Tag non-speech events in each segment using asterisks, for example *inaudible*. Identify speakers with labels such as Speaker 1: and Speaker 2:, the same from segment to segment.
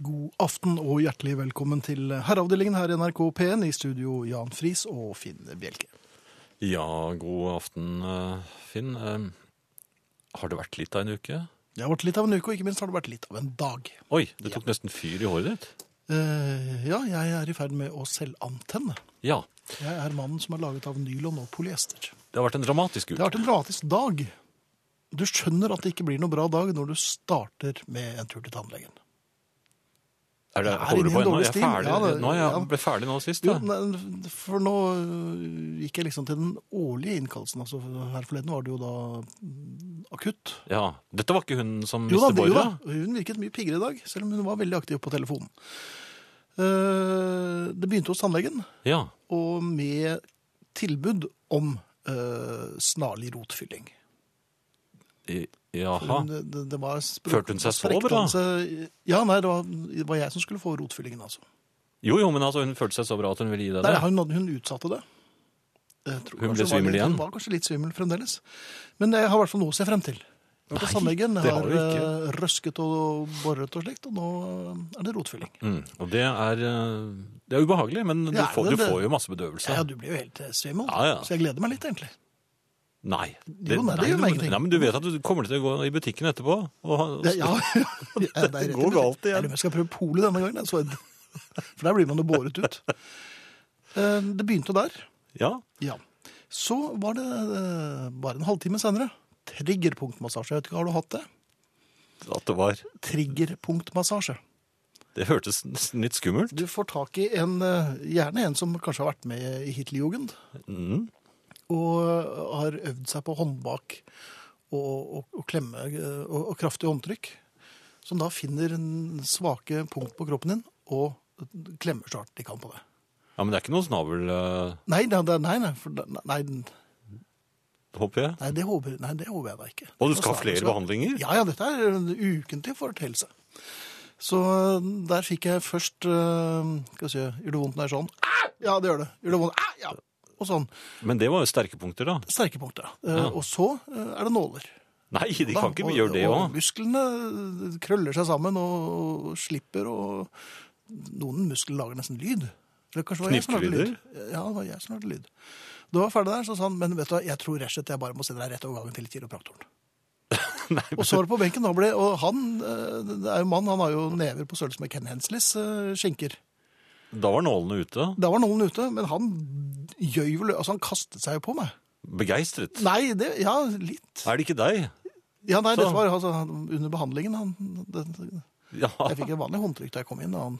Speaker 1: God aften og hjertelig velkommen til Herreavdelingen her i NRK P1 i studio Jan Friis og Finn Bjelke.
Speaker 2: Ja, god aften, eh, Finn. Eh, Har det vært litt av en uke?
Speaker 1: Det har vært litt av en uke, og ikke minst har det vært litt av en dag.
Speaker 2: Oi, det tok nesten fyr i håret ditt.
Speaker 1: Eh, ja, jeg er i ferd med å selvantenne.
Speaker 2: Ja,
Speaker 1: Jeg er mannen som er laget av nylon og polyester.
Speaker 2: det har vært en dramatisk
Speaker 1: Det
Speaker 2: uke.
Speaker 1: har vært en dramatisk dag. Du skjønner at det ikke blir noe bra dag når du starter med en tur til tannlegen.
Speaker 2: Er det,
Speaker 1: Jeg er
Speaker 2: holder
Speaker 1: inne
Speaker 2: du
Speaker 1: i
Speaker 2: på
Speaker 1: en
Speaker 2: ennå?
Speaker 1: dårlig
Speaker 2: Jeg er
Speaker 1: stil.
Speaker 2: ferdig.
Speaker 1: Ja, det-
Speaker 2: nå, jeg
Speaker 1: ja.
Speaker 2: ble ferdig nå sist.
Speaker 1: Jo,
Speaker 2: da.
Speaker 1: nei, for nå øh, gikk jeg liksom til den årlige innkallelsen. Altså, her forleden var det jo da mm, akutt.
Speaker 2: Ja, Dette var ikke hun som
Speaker 1: Jo da,
Speaker 2: mistet
Speaker 1: det- jo da,
Speaker 2: boret?
Speaker 1: hun virket mye piggere i dag, selv om hun var veldig aktiv på telefonen. Eh, Det begynte hos tannlegen,
Speaker 2: Ja.
Speaker 1: og med tilbud om eh, snarlig rotfylling.
Speaker 2: I-
Speaker 1: Hun,
Speaker 2: Jaha.
Speaker 1: det, det var spr-
Speaker 2: Følte hun seg så
Speaker 1: sprekte
Speaker 2: bra?
Speaker 1: hun seg- Ja, nei, det var, det var jeg som skulle få rotfyllingen, altså.
Speaker 2: Jo, jo, men altså, hun følte seg så bra at hun ville gi deg
Speaker 1: Nei,
Speaker 2: det.
Speaker 1: hun, hadde- hun utsatte det. Jeg tror
Speaker 2: Hun
Speaker 1: kanskje var
Speaker 2: ble svimmel
Speaker 1: litt-
Speaker 2: igjen?
Speaker 1: Hun var kanskje litt svimmel fremdeles. Men jeg har i hvert fall noe å se frem til. Jeg har vært hos
Speaker 2: Nei,
Speaker 1: tannlegen,
Speaker 2: det
Speaker 1: jeg
Speaker 2: har
Speaker 1: har
Speaker 2: du ikke.
Speaker 1: eh, røsket og borret og slikt, og nå eh, er det rotfylling.
Speaker 2: Mm, og det er, eh, det er ubehagelig, men du,
Speaker 1: Ja,
Speaker 2: får,
Speaker 1: men
Speaker 2: du
Speaker 1: det-
Speaker 2: får jo masse
Speaker 1: Ja, ja,
Speaker 2: bedøvelse.
Speaker 1: du blir jo helt eh, svimmel,
Speaker 2: Ja, ja.
Speaker 1: så jeg gleder meg litt, egentlig.
Speaker 2: Nei.
Speaker 1: Jo, nei, det gjør
Speaker 2: du-
Speaker 1: meg ingenting.
Speaker 2: Nei, men du vet at du kommer til å gå i butikken etterpå og ha-
Speaker 1: Ja, ja. *laughs* det er rett i
Speaker 2: går
Speaker 1: butikken.
Speaker 2: galt igjen.
Speaker 1: Jeg lurer om jeg skal prøve polet denne gangen, altså. for der blir man jo båret ut. Eh, Det begynte der,
Speaker 2: Ja.
Speaker 1: ja. Så var det eh, bare en halvtime senere, triggerpunktmassasje. Jeg vet ikke, har du hatt det?
Speaker 2: At det var
Speaker 1: Triggerpunktmassasje.
Speaker 2: Det hørtes nesten litt skummelt.
Speaker 1: Du får tak i en, eh, gjerne en som kanskje har vært med i Hitlerjugend,
Speaker 2: Mm.
Speaker 1: og har øvd seg på håndbak og, og, og klemme eh, og, og kraftig håndtrykk, som da finner en svake punkt på kroppen din og klemmer så hardt de kan på det.
Speaker 2: Ja, men det er ikke noe snabel, eh,
Speaker 1: Nei, det, det- nei, nei, for, det- nei, nei,
Speaker 2: håper jeg.
Speaker 1: det håper, nei, det håper jeg da ikke.
Speaker 2: Og du skal ha
Speaker 1: Snarere
Speaker 2: flere
Speaker 1: så-
Speaker 2: behandlinger?
Speaker 1: Ja, ja, dette er en ukentlig fortelse. Så eh, der fikk jeg først eh, Skal vi se Gjør det vondt når jeg er sånn? Ah! Ja, det gjør det. Gjør det vondt? Ah! Ja. Og sånn.
Speaker 2: Men det var jo sterke punkter, da.
Speaker 1: Sterke punkter. Eh, Og så eh, er det nåler.
Speaker 2: Nei, de
Speaker 1: Da,
Speaker 2: kan ikke
Speaker 1: og-
Speaker 2: gjøre det
Speaker 1: Og
Speaker 2: òg.
Speaker 1: musklene eh, krøller seg sammen og og slipper, og noen muskler lager nesten lyd. Eller kanskje det var jeg som lagde lyd. Ja, det var jeg som lagde lyd. Da var jeg ferdig der, så sa han, men vet du hva, jeg tror rett og slett jeg bare må sende deg rett over gangen til kiropraktoren. og så var det på benken, da ble, og han, eh, det er jo en mann, han har jo never på størrelse med Ken Hensleys eh, skinker.
Speaker 2: *laughs* Da var nålene ute.
Speaker 1: Da var noen ute, men han gjøy vel, altså han kastet seg jo på meg.
Speaker 2: Begeistret.
Speaker 1: Nei, det, ja, litt.
Speaker 2: Er det ikke deg?
Speaker 1: Ja, nei,
Speaker 2: Så-
Speaker 1: dette var altså, han- under behandlingen, han, det,
Speaker 2: Ja.
Speaker 1: Jeg fikk et vanlig håndtrykk da jeg kom inn, og han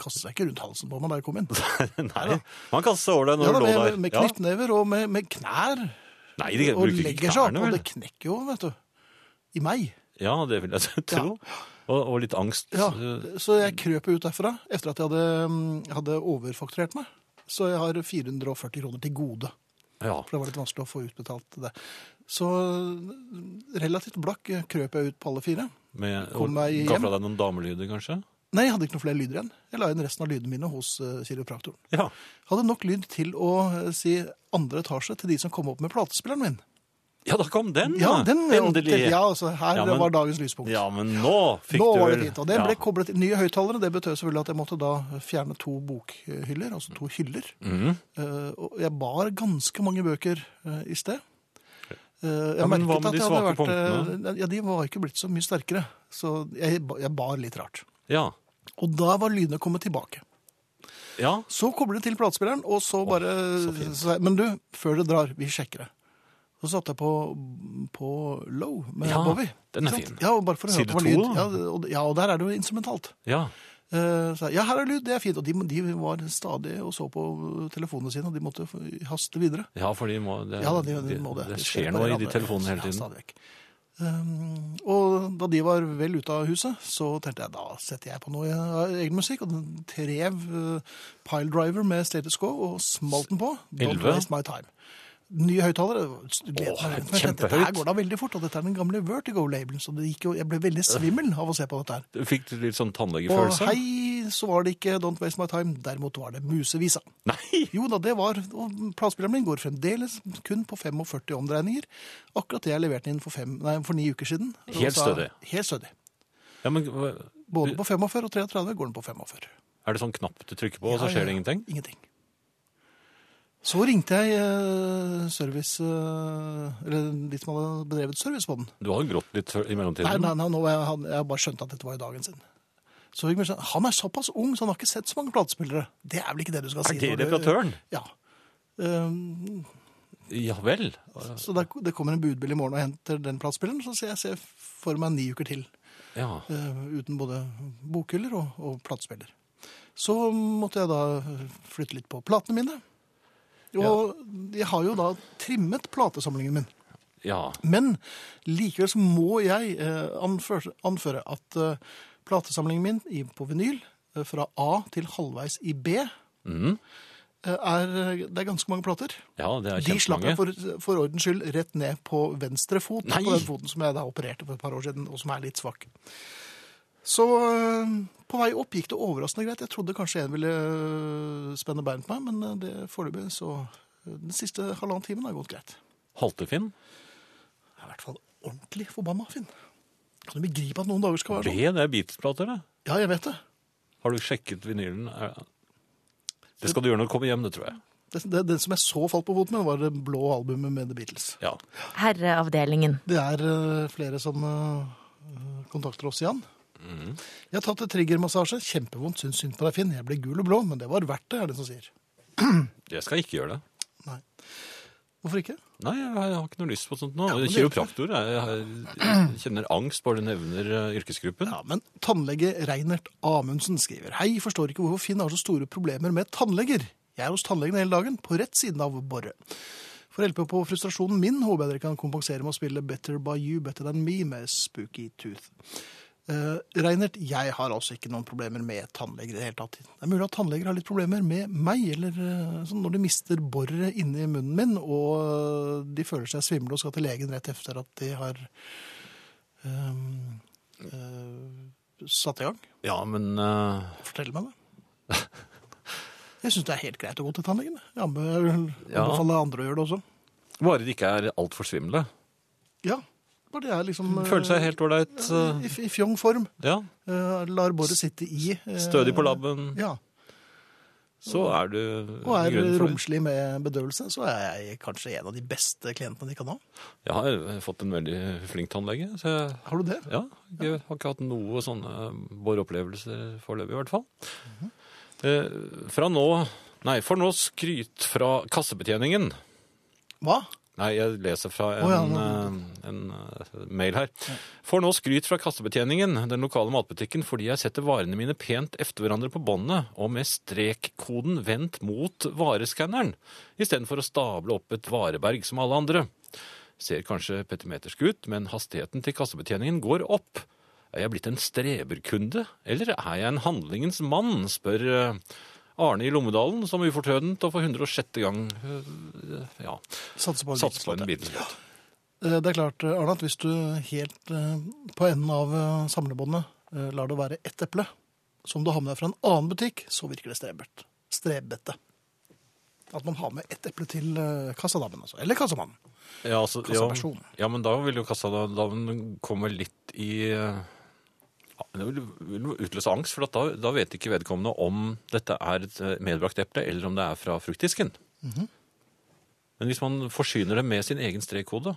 Speaker 1: kastet seg ikke rundt halsen på meg da jeg kom inn.
Speaker 2: *laughs* Nei. Man kastet seg over deg
Speaker 1: Ja,
Speaker 2: når
Speaker 1: da,
Speaker 2: du lå der.
Speaker 1: med, med
Speaker 2: Ja.
Speaker 1: knyttnever og med, med knær,
Speaker 2: Nei, de
Speaker 1: og
Speaker 2: bruker ikke
Speaker 1: legger seg opp,
Speaker 2: knærne,
Speaker 1: og
Speaker 2: vel?
Speaker 1: det knekker jo, vet du. I meg.
Speaker 2: Ja, det vil jeg *laughs* tro. Og, og litt angst.
Speaker 1: Ja.
Speaker 2: Eh,
Speaker 1: Så jeg krøp ut derfra etter at jeg hadde, mm, hadde overfakturert meg. Så jeg har 440 kroner til gode,
Speaker 2: ja.
Speaker 1: for det var litt vanskelig å få utbetalt det. Så mm, relativt blakk krøp jeg ut på alle fire.
Speaker 2: Med,
Speaker 1: Kom
Speaker 2: og
Speaker 1: meg
Speaker 2: ga
Speaker 1: hjem.
Speaker 2: fra deg noen damelyder, kanskje?
Speaker 1: Nei, jeg hadde ikke noen flere lyder igjen. Jeg la inn resten av lydene mine hos eh, kiropraktoren.
Speaker 2: Ja.
Speaker 1: Hadde nok lyd til å eh, si andre etasje til de som kom opp med platespilleren min.
Speaker 2: ja, da kom den,
Speaker 1: Ja,
Speaker 2: da.
Speaker 1: den
Speaker 2: Mm. Endelig.
Speaker 1: Ja, altså, her
Speaker 2: Ja, men-
Speaker 1: var dagens lyspunkt.
Speaker 2: Ja, men nå fikk
Speaker 1: Nå
Speaker 2: du
Speaker 1: var det fint, og det
Speaker 2: Ja.
Speaker 1: ble koblet til nye høyttalere. Det betød selvfølgelig at jeg måtte da fjerne to bokhyller, altså to hyller.
Speaker 2: Mhm.
Speaker 1: Eh, og jeg bar ganske mange bøker eh, i sted. Eh, jeg
Speaker 2: Ja, men hva
Speaker 1: merket
Speaker 2: med
Speaker 1: at
Speaker 2: de
Speaker 1: jeg hadde
Speaker 2: svake
Speaker 1: vært, eh, Ja, De var ikke blitt så mye sterkere, så jeg, ba- jeg bar litt rart.
Speaker 2: ja.
Speaker 1: Og da var lydene kommet tilbake.
Speaker 2: ja.
Speaker 1: Så kobler det til platespilleren, og så bare
Speaker 2: så fint.
Speaker 1: så sa jeg, Men du, før dere drar, vi sjekker det. Så satte jeg på, på low med
Speaker 2: Ja,
Speaker 1: Bowie.
Speaker 2: den er
Speaker 1: Ikke sant?
Speaker 2: fin.
Speaker 1: Ja, og bare for å høre
Speaker 2: Side
Speaker 1: at det var
Speaker 2: to,
Speaker 1: lyd.
Speaker 2: da.
Speaker 1: Ja, og, ja, og der er det jo instrumentalt.
Speaker 2: Ja.
Speaker 1: Eh, så jeg, ja, her er lyd, det er fint. Og de, de var stadig og så på telefonene sine, og de måtte haste videre.
Speaker 2: Ja, for de må, det,
Speaker 1: Ja, da, de,
Speaker 2: de-
Speaker 1: de må det.
Speaker 2: det
Speaker 1: De
Speaker 2: skjer
Speaker 1: ser på
Speaker 2: noe i de
Speaker 1: hverandre.
Speaker 2: telefonene hele
Speaker 1: Ja,
Speaker 2: tiden.
Speaker 1: stadig vekk. Um, og da de var vel ute av huset, så tenkte jeg da setter jeg på noe av egen musikk. Og den trev uh, Pile Driver med Status Quo og smalt den på. Don't
Speaker 2: Elleve.
Speaker 1: waste my time. Nye høyttalere. gledet
Speaker 2: Åh,
Speaker 1: meg veldig, men jeg tenkte,
Speaker 2: kjempehøyt.
Speaker 1: Dette her går da veldig fort, og dette er den gamle Vertigo-labelen. Så det gikk jo, jeg ble veldig
Speaker 2: Øh.
Speaker 1: svimmel av å se på dette her.
Speaker 2: Du fikk litt sånn
Speaker 1: Og
Speaker 2: tannlegefølelse?
Speaker 1: hei, så var det ikke Don't Waste My Time. Derimot var det Musevisa.
Speaker 2: *laughs* Nei!
Speaker 1: Jo da, det var Og platespilleren min går fremdeles kun på 45 omdreininger. Akkurat det jeg leverte inn for, fem, nei, for ni uker siden. Og
Speaker 2: Helt
Speaker 1: sa-
Speaker 2: stødig.
Speaker 1: Helt stødig.
Speaker 2: Ja, men hva-
Speaker 1: Både på 45 og 33 går den på 45.
Speaker 2: Er det sånn knapp du trykker på, og så skjer det ingenting?
Speaker 1: Ingenting. Så ringte jeg eh, service, eh, eller de som hadde bedrevet service på den.
Speaker 2: Du har jo grått litt i
Speaker 1: Nei,
Speaker 2: mellomtiden.
Speaker 1: nei, nei nå har jeg, han- jeg har bare skjønt at dette var i dagen sin. Så fikk vi skjønt, han er såpass ung, så han har ikke sett så mange platespillere. Det er vel ikke det du skal si.
Speaker 2: Er
Speaker 1: når
Speaker 2: det
Speaker 1: du-
Speaker 2: reparatøren?
Speaker 1: Ja. Um,
Speaker 2: Ja vel.
Speaker 1: så det, det kommer en budbil i morgen og henter den platespilleren, så ser jeg ser for meg ni uker til.
Speaker 2: Ja.
Speaker 1: eh, uten både bokhyller og, og platespiller. Så måtte jeg da eh, flytte litt på platene mine. Og jeg har jo da trimmet platesamlingen min.
Speaker 2: ja.
Speaker 1: Men likevel så må jeg eh, anføre, anføre at eh, platesamlingen min i, på vinyl eh, fra A til halvveis i B eh,
Speaker 2: Mm.
Speaker 1: er, eh, det er ganske mange plater.
Speaker 2: Ja, det er
Speaker 1: De slapp jeg
Speaker 2: kjempemange.
Speaker 1: for, for ordens skyld rett ned på venstre fot,
Speaker 2: Nei!
Speaker 1: på den foten som jeg da opererte for et par år siden, og som er litt svak. Så eh, på vei opp gikk det overraskende greit. Jeg trodde kanskje en ville eh, spenne bein på meg, men eh, det foreløpig så eh, Den siste halvannen timen har gått greit.
Speaker 2: Haltefinn?
Speaker 1: Jeg er i hvert fall ordentlig forbanna, Finn. Kan du begripe at noen dager skal være
Speaker 2: B,
Speaker 1: sånn?
Speaker 2: det er Beatles-plater, det.
Speaker 1: Ja, jeg vet det.
Speaker 2: Har du sjekket vinylen? Er- Det skal du gjøre når du kommer hjem, det tror jeg.
Speaker 1: Det, det. Den som jeg så falt på foten med, var det blå albumet med The Beatles.
Speaker 2: Ja.
Speaker 3: Herreavdelingen.
Speaker 1: Det er eh, flere som eh, kontakter oss igjen. Jeg har tatt et triggermassasje. Kjempevondt. Syns synd på deg, Finn. Jeg ble gul og blå, men det var verdt det, er det som sier.
Speaker 2: Jeg skal ikke gjøre det.
Speaker 1: Nei. Hvorfor ikke?
Speaker 2: Nei, jeg jeg har ikke noe lyst på sånt nå.
Speaker 1: men det-
Speaker 2: Kiropraktor. Jeg, jeg, jeg kjenner angst bare du nevner eh, yrkesgruppen.
Speaker 1: Ja, men tannlege Reinert Amundsen skriver Hei, forstår ikke hvorfor Finn har så store problemer med tannleger. Jeg er hos tannlegen hele dagen, på rett siden av borre. For å hjelpe på frustrasjonen min, håper jeg dere kan kompensere med å spille Better by you, better than me med Spooky Tooth. Eh, Reinert, jeg har altså ikke noen problemer med tannleger i det hele tatt. Det er mulig at tannleger har litt problemer med meg, eller eh, sånn når de mister borret inni munnen min, og eh, de føler seg svimle og skal til legen rett etter at de har ehm, eh, satt i gang.
Speaker 2: Ja, men eh,
Speaker 1: Fortell meg det. Jeg syns det er helt greit å gå til tannlegen. Jeg anbe- jeg
Speaker 2: Ja.
Speaker 1: anbefaler andre å gjøre det også.
Speaker 2: bare de ikke er altfor svimle.
Speaker 1: Ja, bare det er liksom eh,
Speaker 2: Føler seg helt ålreit. eh,
Speaker 1: i, f- i fjong form.
Speaker 2: Ja.
Speaker 1: Eh, lar båret sitte i. eh,
Speaker 2: Stødig på labben.
Speaker 1: Ja.
Speaker 2: Så er du
Speaker 1: Og er
Speaker 2: grunnen for det.
Speaker 1: romslig med bedøvelse, så er jeg kanskje en av de beste klientene de kan ha.
Speaker 2: Jeg har eh, fått en veldig flink tannlege. Så jeg,
Speaker 1: Har du det?
Speaker 2: ja, jeg har ikke hatt noe sånne boreopplevelser foreløpig, i hvert fall.
Speaker 1: Mhm.
Speaker 2: Eh, Fra nå Nei, for nå skryt fra kassebetjeningen.
Speaker 1: Hva?
Speaker 2: Nei, jeg leser fra en,
Speaker 1: Å, ja,
Speaker 2: eh, en eh, mail her. Får nå skryt fra kassebetjeningen, den lokale matbutikken, fordi jeg setter varene mine pent efter hverandre på båndet, og med strekkoden vendt mot vareskanneren, istedenfor å stable opp et vareberg som alle andre. Ser kanskje petimetersk ut, men hastigheten til kassebetjeningen går opp. Er jeg blitt en streberkunde, eller er jeg en handlingens mann, spør eh, Arne i Lommedalen, som ufortrødent og for 106. gang eh, ja,
Speaker 1: Satser på en
Speaker 2: satser på
Speaker 1: Beatles-låt,
Speaker 2: en
Speaker 1: ja.
Speaker 2: Beatles-låt.
Speaker 1: Eh, Det er klart, eh, Arne, at hvis du helt eh, på enden av eh, samlebåndet eh, lar det være ett eple som du har med deg fra en annen butikk, så virker det strebet. strebete. At man har med ett eple til eh, kassadamen, altså. Eller kassamannen.
Speaker 2: Ja, altså, ja,
Speaker 1: Kassaperson.
Speaker 2: ja, men da vil jo kassadamen komme litt i eh, ja, Det vil, vil jo utløse angst, for at da, da vet ikke vedkommende om dette er et eh, medbrakt eple, eller om det er fra fruktdisken.
Speaker 1: Mhm.
Speaker 2: Men hvis man forsyner det med sin egen strekkode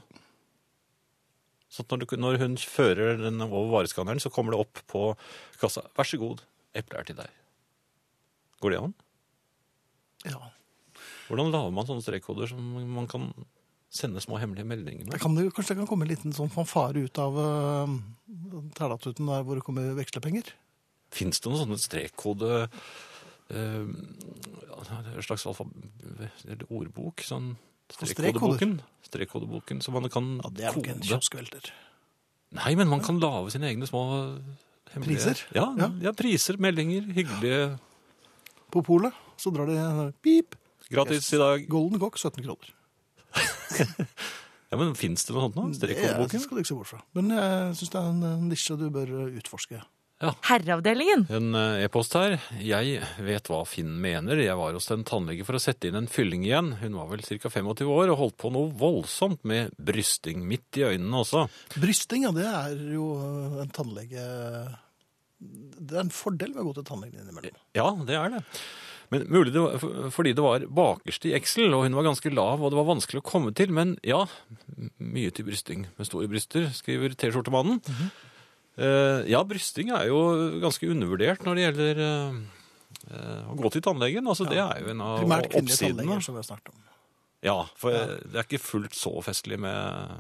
Speaker 2: så at når, du, når hun fører den over vareskanneren, så kommer det opp på kassa. Vær så god, eplet er til deg. Går det an?
Speaker 1: Ja.
Speaker 2: Hvordan lager man sånne strekkoder som man kan sende små hemmelige meldinger med?
Speaker 1: Da kan det, jo- kanskje det kan komme en liten sånn fanfare ut av uh, Tælatuten, der hvor det kommer vekslepenger.
Speaker 2: Fins det noen sånne strekkode eh, ja, En slags alfa... Eller ordbok? Sånn
Speaker 1: strekkoder?
Speaker 2: strekkodeboken? Strekkodeboken, så man kan
Speaker 1: Ja, Det er nok
Speaker 2: kode
Speaker 1: en kioskvelter.
Speaker 2: Nei, men man kan lage sine egne små hemmelige
Speaker 1: Priser?
Speaker 2: Ja, ja.
Speaker 1: Ja.
Speaker 2: priser, meldinger, hyggelige
Speaker 1: På polet så drar de eh, pip.
Speaker 2: Gratis i dag.
Speaker 1: Golden Cock 17 kroner.
Speaker 2: Ja, men Fins det noe sånt nå?
Speaker 1: Det
Speaker 2: Strekkodeboken?
Speaker 1: skal du ikke se bort fra. Men jeg syns det er en eh, nisje du bør eh, utforske.
Speaker 3: Herreavdelingen.
Speaker 2: En eh, e-post her. Jeg vet hva Finn mener. Jeg var hos en tannlege for å sette inn en fylling igjen. Hun var vel ca. 25 år og holdt på noe voldsomt med brysting midt i øynene også.
Speaker 1: Brysting, ja, det er jo eh, en tannlege øh, det er en fordel ved å gå til tannlegen innimellom.
Speaker 2: Ja, det er det. Men mulig det var for- fordi det var bakerst i Excel, og hun var ganske lav, og det var vanskelig å komme til. Men ja, m- mye til brysting med store bryster, skriver T-skjortemannen. Eh, ja, brysting er jo ganske undervurdert når det gjelder eh, eh, å gå til tannlegen. Altså, Det er jo en av
Speaker 1: Primært kvinnelige
Speaker 2: oppsidene.
Speaker 1: tannleger, som vi har snakket om.
Speaker 2: Ja, for eh, det er ikke fullt så festlig med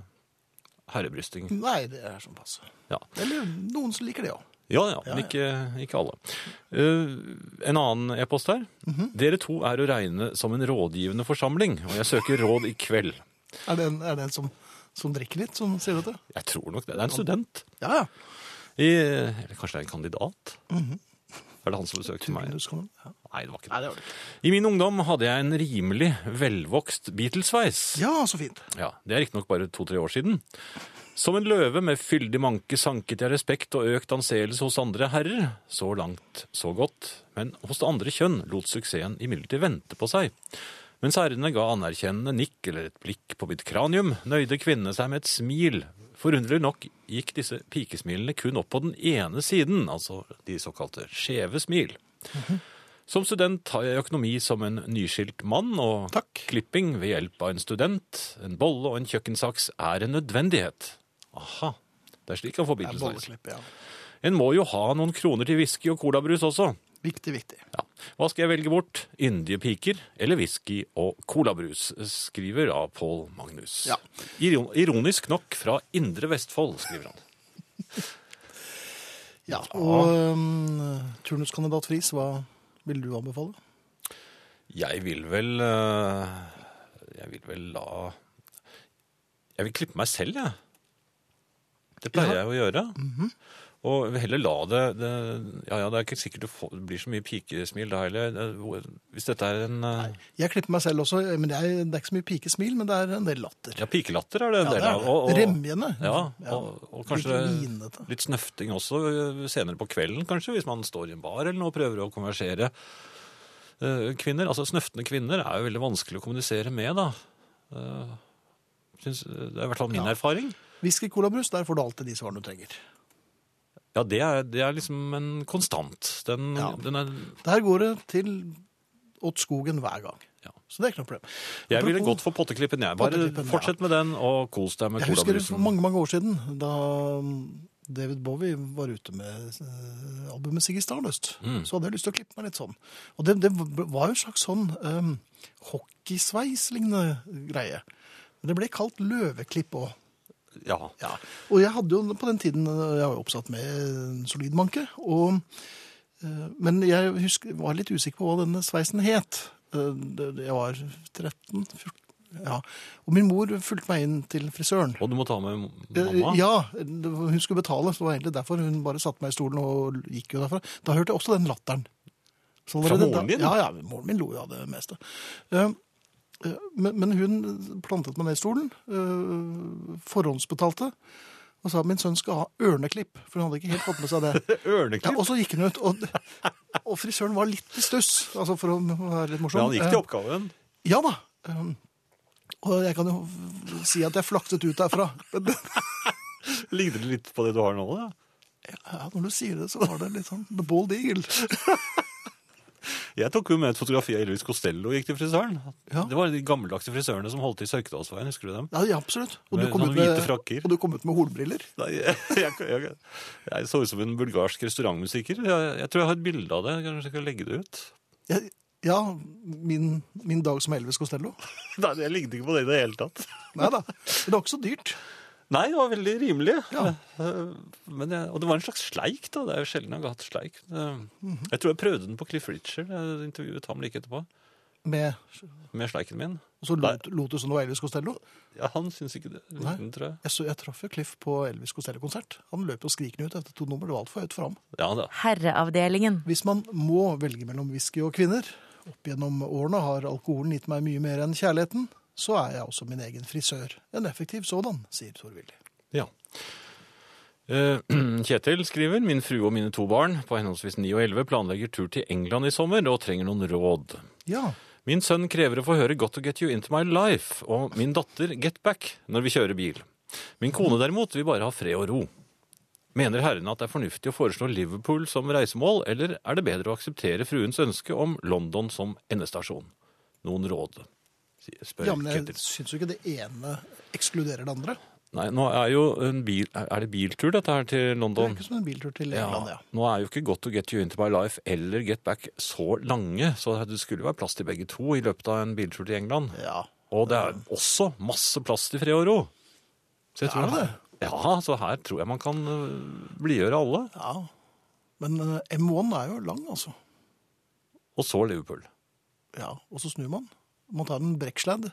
Speaker 2: herrebrysting.
Speaker 1: Nei, det er som passer.
Speaker 2: Ja.
Speaker 1: Eller noen som liker det òg.
Speaker 2: Ja, ja,
Speaker 1: Ja,
Speaker 2: men
Speaker 1: ja.
Speaker 2: ikke, ikke alle. Eh, en annen e-post her. Dere to er å regne som en rådgivende forsamling, og jeg søker råd i kveld.
Speaker 1: Er det en, er det en som, som drikker litt, som sier dette?
Speaker 2: Jeg tror nok det. Det er en student.
Speaker 1: Ja, ja.
Speaker 2: I, eller kanskje det er en kandidat? Er det han som besøkte meg?
Speaker 1: Turinus kan ja.
Speaker 2: Nei, det var ikke
Speaker 1: Nei,
Speaker 2: det.
Speaker 1: det var det.
Speaker 2: I min ungdom hadde jeg en rimelig velvokst Beatles-sveis.
Speaker 1: ja, så fint.
Speaker 2: Ja, det er riktignok bare to-tre år siden. Som en løve med fyldig manke sanket jeg respekt og økt anseelse hos andre herrer. Så langt, så godt. Men hos det andre kjønn lot suksessen imidlertid vente på seg. Mens herrene ga anerkjennende nikk eller et blikk på mitt kranium, nøyde kvinnene seg med et smil. Forunderlig nok gikk disse pikesmilene kun opp på den ene siden, altså de såkalte skjeve smil. Som student har jeg økonomi som en nyskilt mann, og
Speaker 1: Takk.
Speaker 2: klipping ved hjelp av en student, en bolle og en kjøkkensaks er en nødvendighet. Aha, det er slik han får
Speaker 1: Det er
Speaker 2: Beatles-sveis.
Speaker 1: bolleklipp, ja.
Speaker 2: En må jo ha noen kroner til whisky og colabrus også.
Speaker 1: Viktig, viktig.
Speaker 2: Ja. Hva skal jeg velge bort? Yndige piker eller whisky og colabrus? Skriver av Pål Magnus.
Speaker 1: Ja.
Speaker 2: Iron- Ironisk nok fra Indre Vestfold, skriver han.
Speaker 1: Ja, Og um, turnuskandidat Friis, hva vil du anbefale?
Speaker 2: Jeg vil vel eh, Jeg vil vel la Jeg vil klippe meg selv, jeg. Det pleier jeg å gjøre.
Speaker 1: Mhm.
Speaker 2: Og jeg vil heller la det, det Ja ja, det er ikke sikkert du får, det blir så mye pikesmil da heller. Det- hvor- Hvis dette er en eh,
Speaker 1: Jeg klipper meg selv også, men jeg, det er ikke så mye pikesmil, men det er en del latter.
Speaker 2: Ja, pikelatter er det en
Speaker 1: Ja,
Speaker 2: del
Speaker 1: det er
Speaker 2: av.
Speaker 1: det.
Speaker 2: og- og-
Speaker 1: Remjene.
Speaker 2: Ja,
Speaker 1: Ja.
Speaker 2: og, og kanskje
Speaker 1: Litt vinete.
Speaker 2: litt snøfting også eh, senere på kvelden, kanskje, hvis man står i en bar eller noe og prøver å konversere. Eh, Kvinner, altså Snøftende kvinner er jo veldig vanskelig å kommunisere med, da. Eh, Syns, eh, det er i hvert fall min
Speaker 1: Ja.
Speaker 2: erfaring.
Speaker 1: Whisky, colabrus, der får du alltid de svarene du trenger.
Speaker 2: Ja, det er, det er liksom en konstant. Den,
Speaker 1: Ja.
Speaker 2: den er,
Speaker 1: Der går det til åt skogen hver gang.
Speaker 2: Ja.
Speaker 1: Så det er ikke noe problem.
Speaker 2: jeg ville
Speaker 1: Apropos-
Speaker 2: gått for potteklippen, jeg. Bare
Speaker 1: Potteklippen, ja.
Speaker 2: fortsett med den, og kos deg med
Speaker 1: Jeg husker for
Speaker 2: colabrusen.
Speaker 1: mange, mange år siden, da um, David Bowie var ute med eh, albumet Siggy Stardust, så hadde jeg lyst til å klippe meg litt sånn. Og det, det var jo en slags sånn um, hockeysveis-lignende greie. Men det ble kalt løveklipp òg.
Speaker 2: Ja.
Speaker 1: Ja. Og jeg hadde jo på den tiden eh, Jeg var jo oppsatt med en solid manke. Og, eh, men jeg husker, var litt usikker på hva denne sveisen het. Eh, det- Jeg var 13-14 ja. Og min mor fulgte meg inn til frisøren.
Speaker 2: Og du må ta med
Speaker 1: Eh,
Speaker 2: mamma.
Speaker 1: Ja, det var- hun skulle betale, så det var egentlig derfor hun bare satte meg i stolen og gikk jo derfra. Da hørte jeg også den latteren. Så
Speaker 2: Fra
Speaker 1: allerede
Speaker 2: moren
Speaker 1: da-
Speaker 2: din?
Speaker 1: Ja, ja, moren min lo jo av det meste. Eh, eh, Men, men hun plantet meg ned i stolen, eh, forhåndsbetalte, og sa at min sønn skal ha ørneklipp, for hun hadde ikke helt fått med seg
Speaker 2: *laughs*
Speaker 1: det. Ja,
Speaker 2: Ørneklipp.
Speaker 1: og så gikk hun ut, og, og frisøren var litt i stuss, altså for å være litt morsom.
Speaker 2: Men han gikk
Speaker 1: Eh,
Speaker 2: til oppgaven.
Speaker 1: ja da. Um, Og jeg kan jo f- si at jeg flaktet ut derfra. Men det,
Speaker 2: Ligner det litt på det du har nå? da?
Speaker 1: ja, når du sier det, så var det litt sånn The Bald Eagle.
Speaker 2: Jeg tok jo med et fotografi av Elvis Costello og gikk til frisøren.
Speaker 1: Ja.
Speaker 2: Det var de gammeldagse frisørene som holdt til i Sørkedalsveien, husker du dem?
Speaker 1: Ja, ja absolutt. Og du,
Speaker 2: Med
Speaker 1: kom
Speaker 2: sånne
Speaker 1: ut
Speaker 2: hvite
Speaker 1: med,
Speaker 2: frakker.
Speaker 1: og du kom ut med hornbriller.
Speaker 2: Nei, *laughs* jeg, jeg, jeg, jeg så ut som en bulgarsk restaurantmusiker. Jeg, jeg tror jeg har et bilde av det. Kanskje jeg kan legge det ut?
Speaker 1: Jeg, ja, min, min dag som Elvis Costello.
Speaker 2: Nei, jeg lignet ikke på det i det hele tatt.
Speaker 1: Nei da. Men det var ikke så dyrt.
Speaker 2: Nei, det var veldig rimelig.
Speaker 1: Ja.
Speaker 2: Eh, Men jeg, og det var en slags sleik, da. Det er jo sjelden jeg har hatt sleik. Eh,
Speaker 1: Mhm.
Speaker 2: Jeg tror jeg prøvde den på Cliff Richard. Jeg intervjuet ham like etterpå.
Speaker 1: Med,
Speaker 2: Med sleiken min.
Speaker 1: og så lot, lot du som det var Elvis Costello.
Speaker 2: Ja, han syns ikke det.
Speaker 1: Nei.
Speaker 2: Liten, tror jeg.
Speaker 1: Jeg, så, jeg traff jo Cliff på Elvis Costello-konsert. Han løp jo skrikende ut etter to nummer. Det var altfor høyt for ham.
Speaker 2: Ja, da.
Speaker 3: Herreavdelingen.
Speaker 1: Hvis man må velge mellom whisky og kvinner, opp gjennom årene har alkoholen gitt meg mye mer enn kjærligheten, så er jeg også min egen frisør. En effektiv sådan, sier Thor-Willy.
Speaker 2: Ja. Eh, *clears throat* Kjetil skriver min frue og mine to barn på henholdsvis 9 og 11 planlegger tur til England i sommer og trenger noen råd.
Speaker 1: Ja,
Speaker 2: Min sønn krever å få høre 'Got to get you into my life' og min datter 'Get back' når vi kjører bil. Min kone derimot vil bare ha fred og ro. Mener herrene at det er fornuftig å foreslå Liverpool som reisemål, eller er det bedre å akseptere fruens ønske om London som endestasjon? Noen råd? sier- Spør
Speaker 1: Ja, men jeg
Speaker 2: Kjetil.
Speaker 1: syns jo ikke det ene ekskluderer det andre.
Speaker 2: Nei, nå er jo en bil... Er det biltur dette her til
Speaker 1: Det
Speaker 2: London?
Speaker 1: er ikke som en biltur til England, ja.
Speaker 2: Nå er jo ikke Got to Get You Into My Life eller Get Back så lange, så det skulle jo være plass til begge to i løpet av en biltur til England.
Speaker 1: ja.
Speaker 2: Og det er også masse plass til fred og ro. Så jeg
Speaker 1: Er det
Speaker 2: her- Ja, så her tror jeg man kan øh, blidgjøre alle.
Speaker 1: Ja. Men eh, M1 er jo lang, altså.
Speaker 2: Og så Liverpool.
Speaker 1: Ja, og så snur man. Man tar en brekksledd.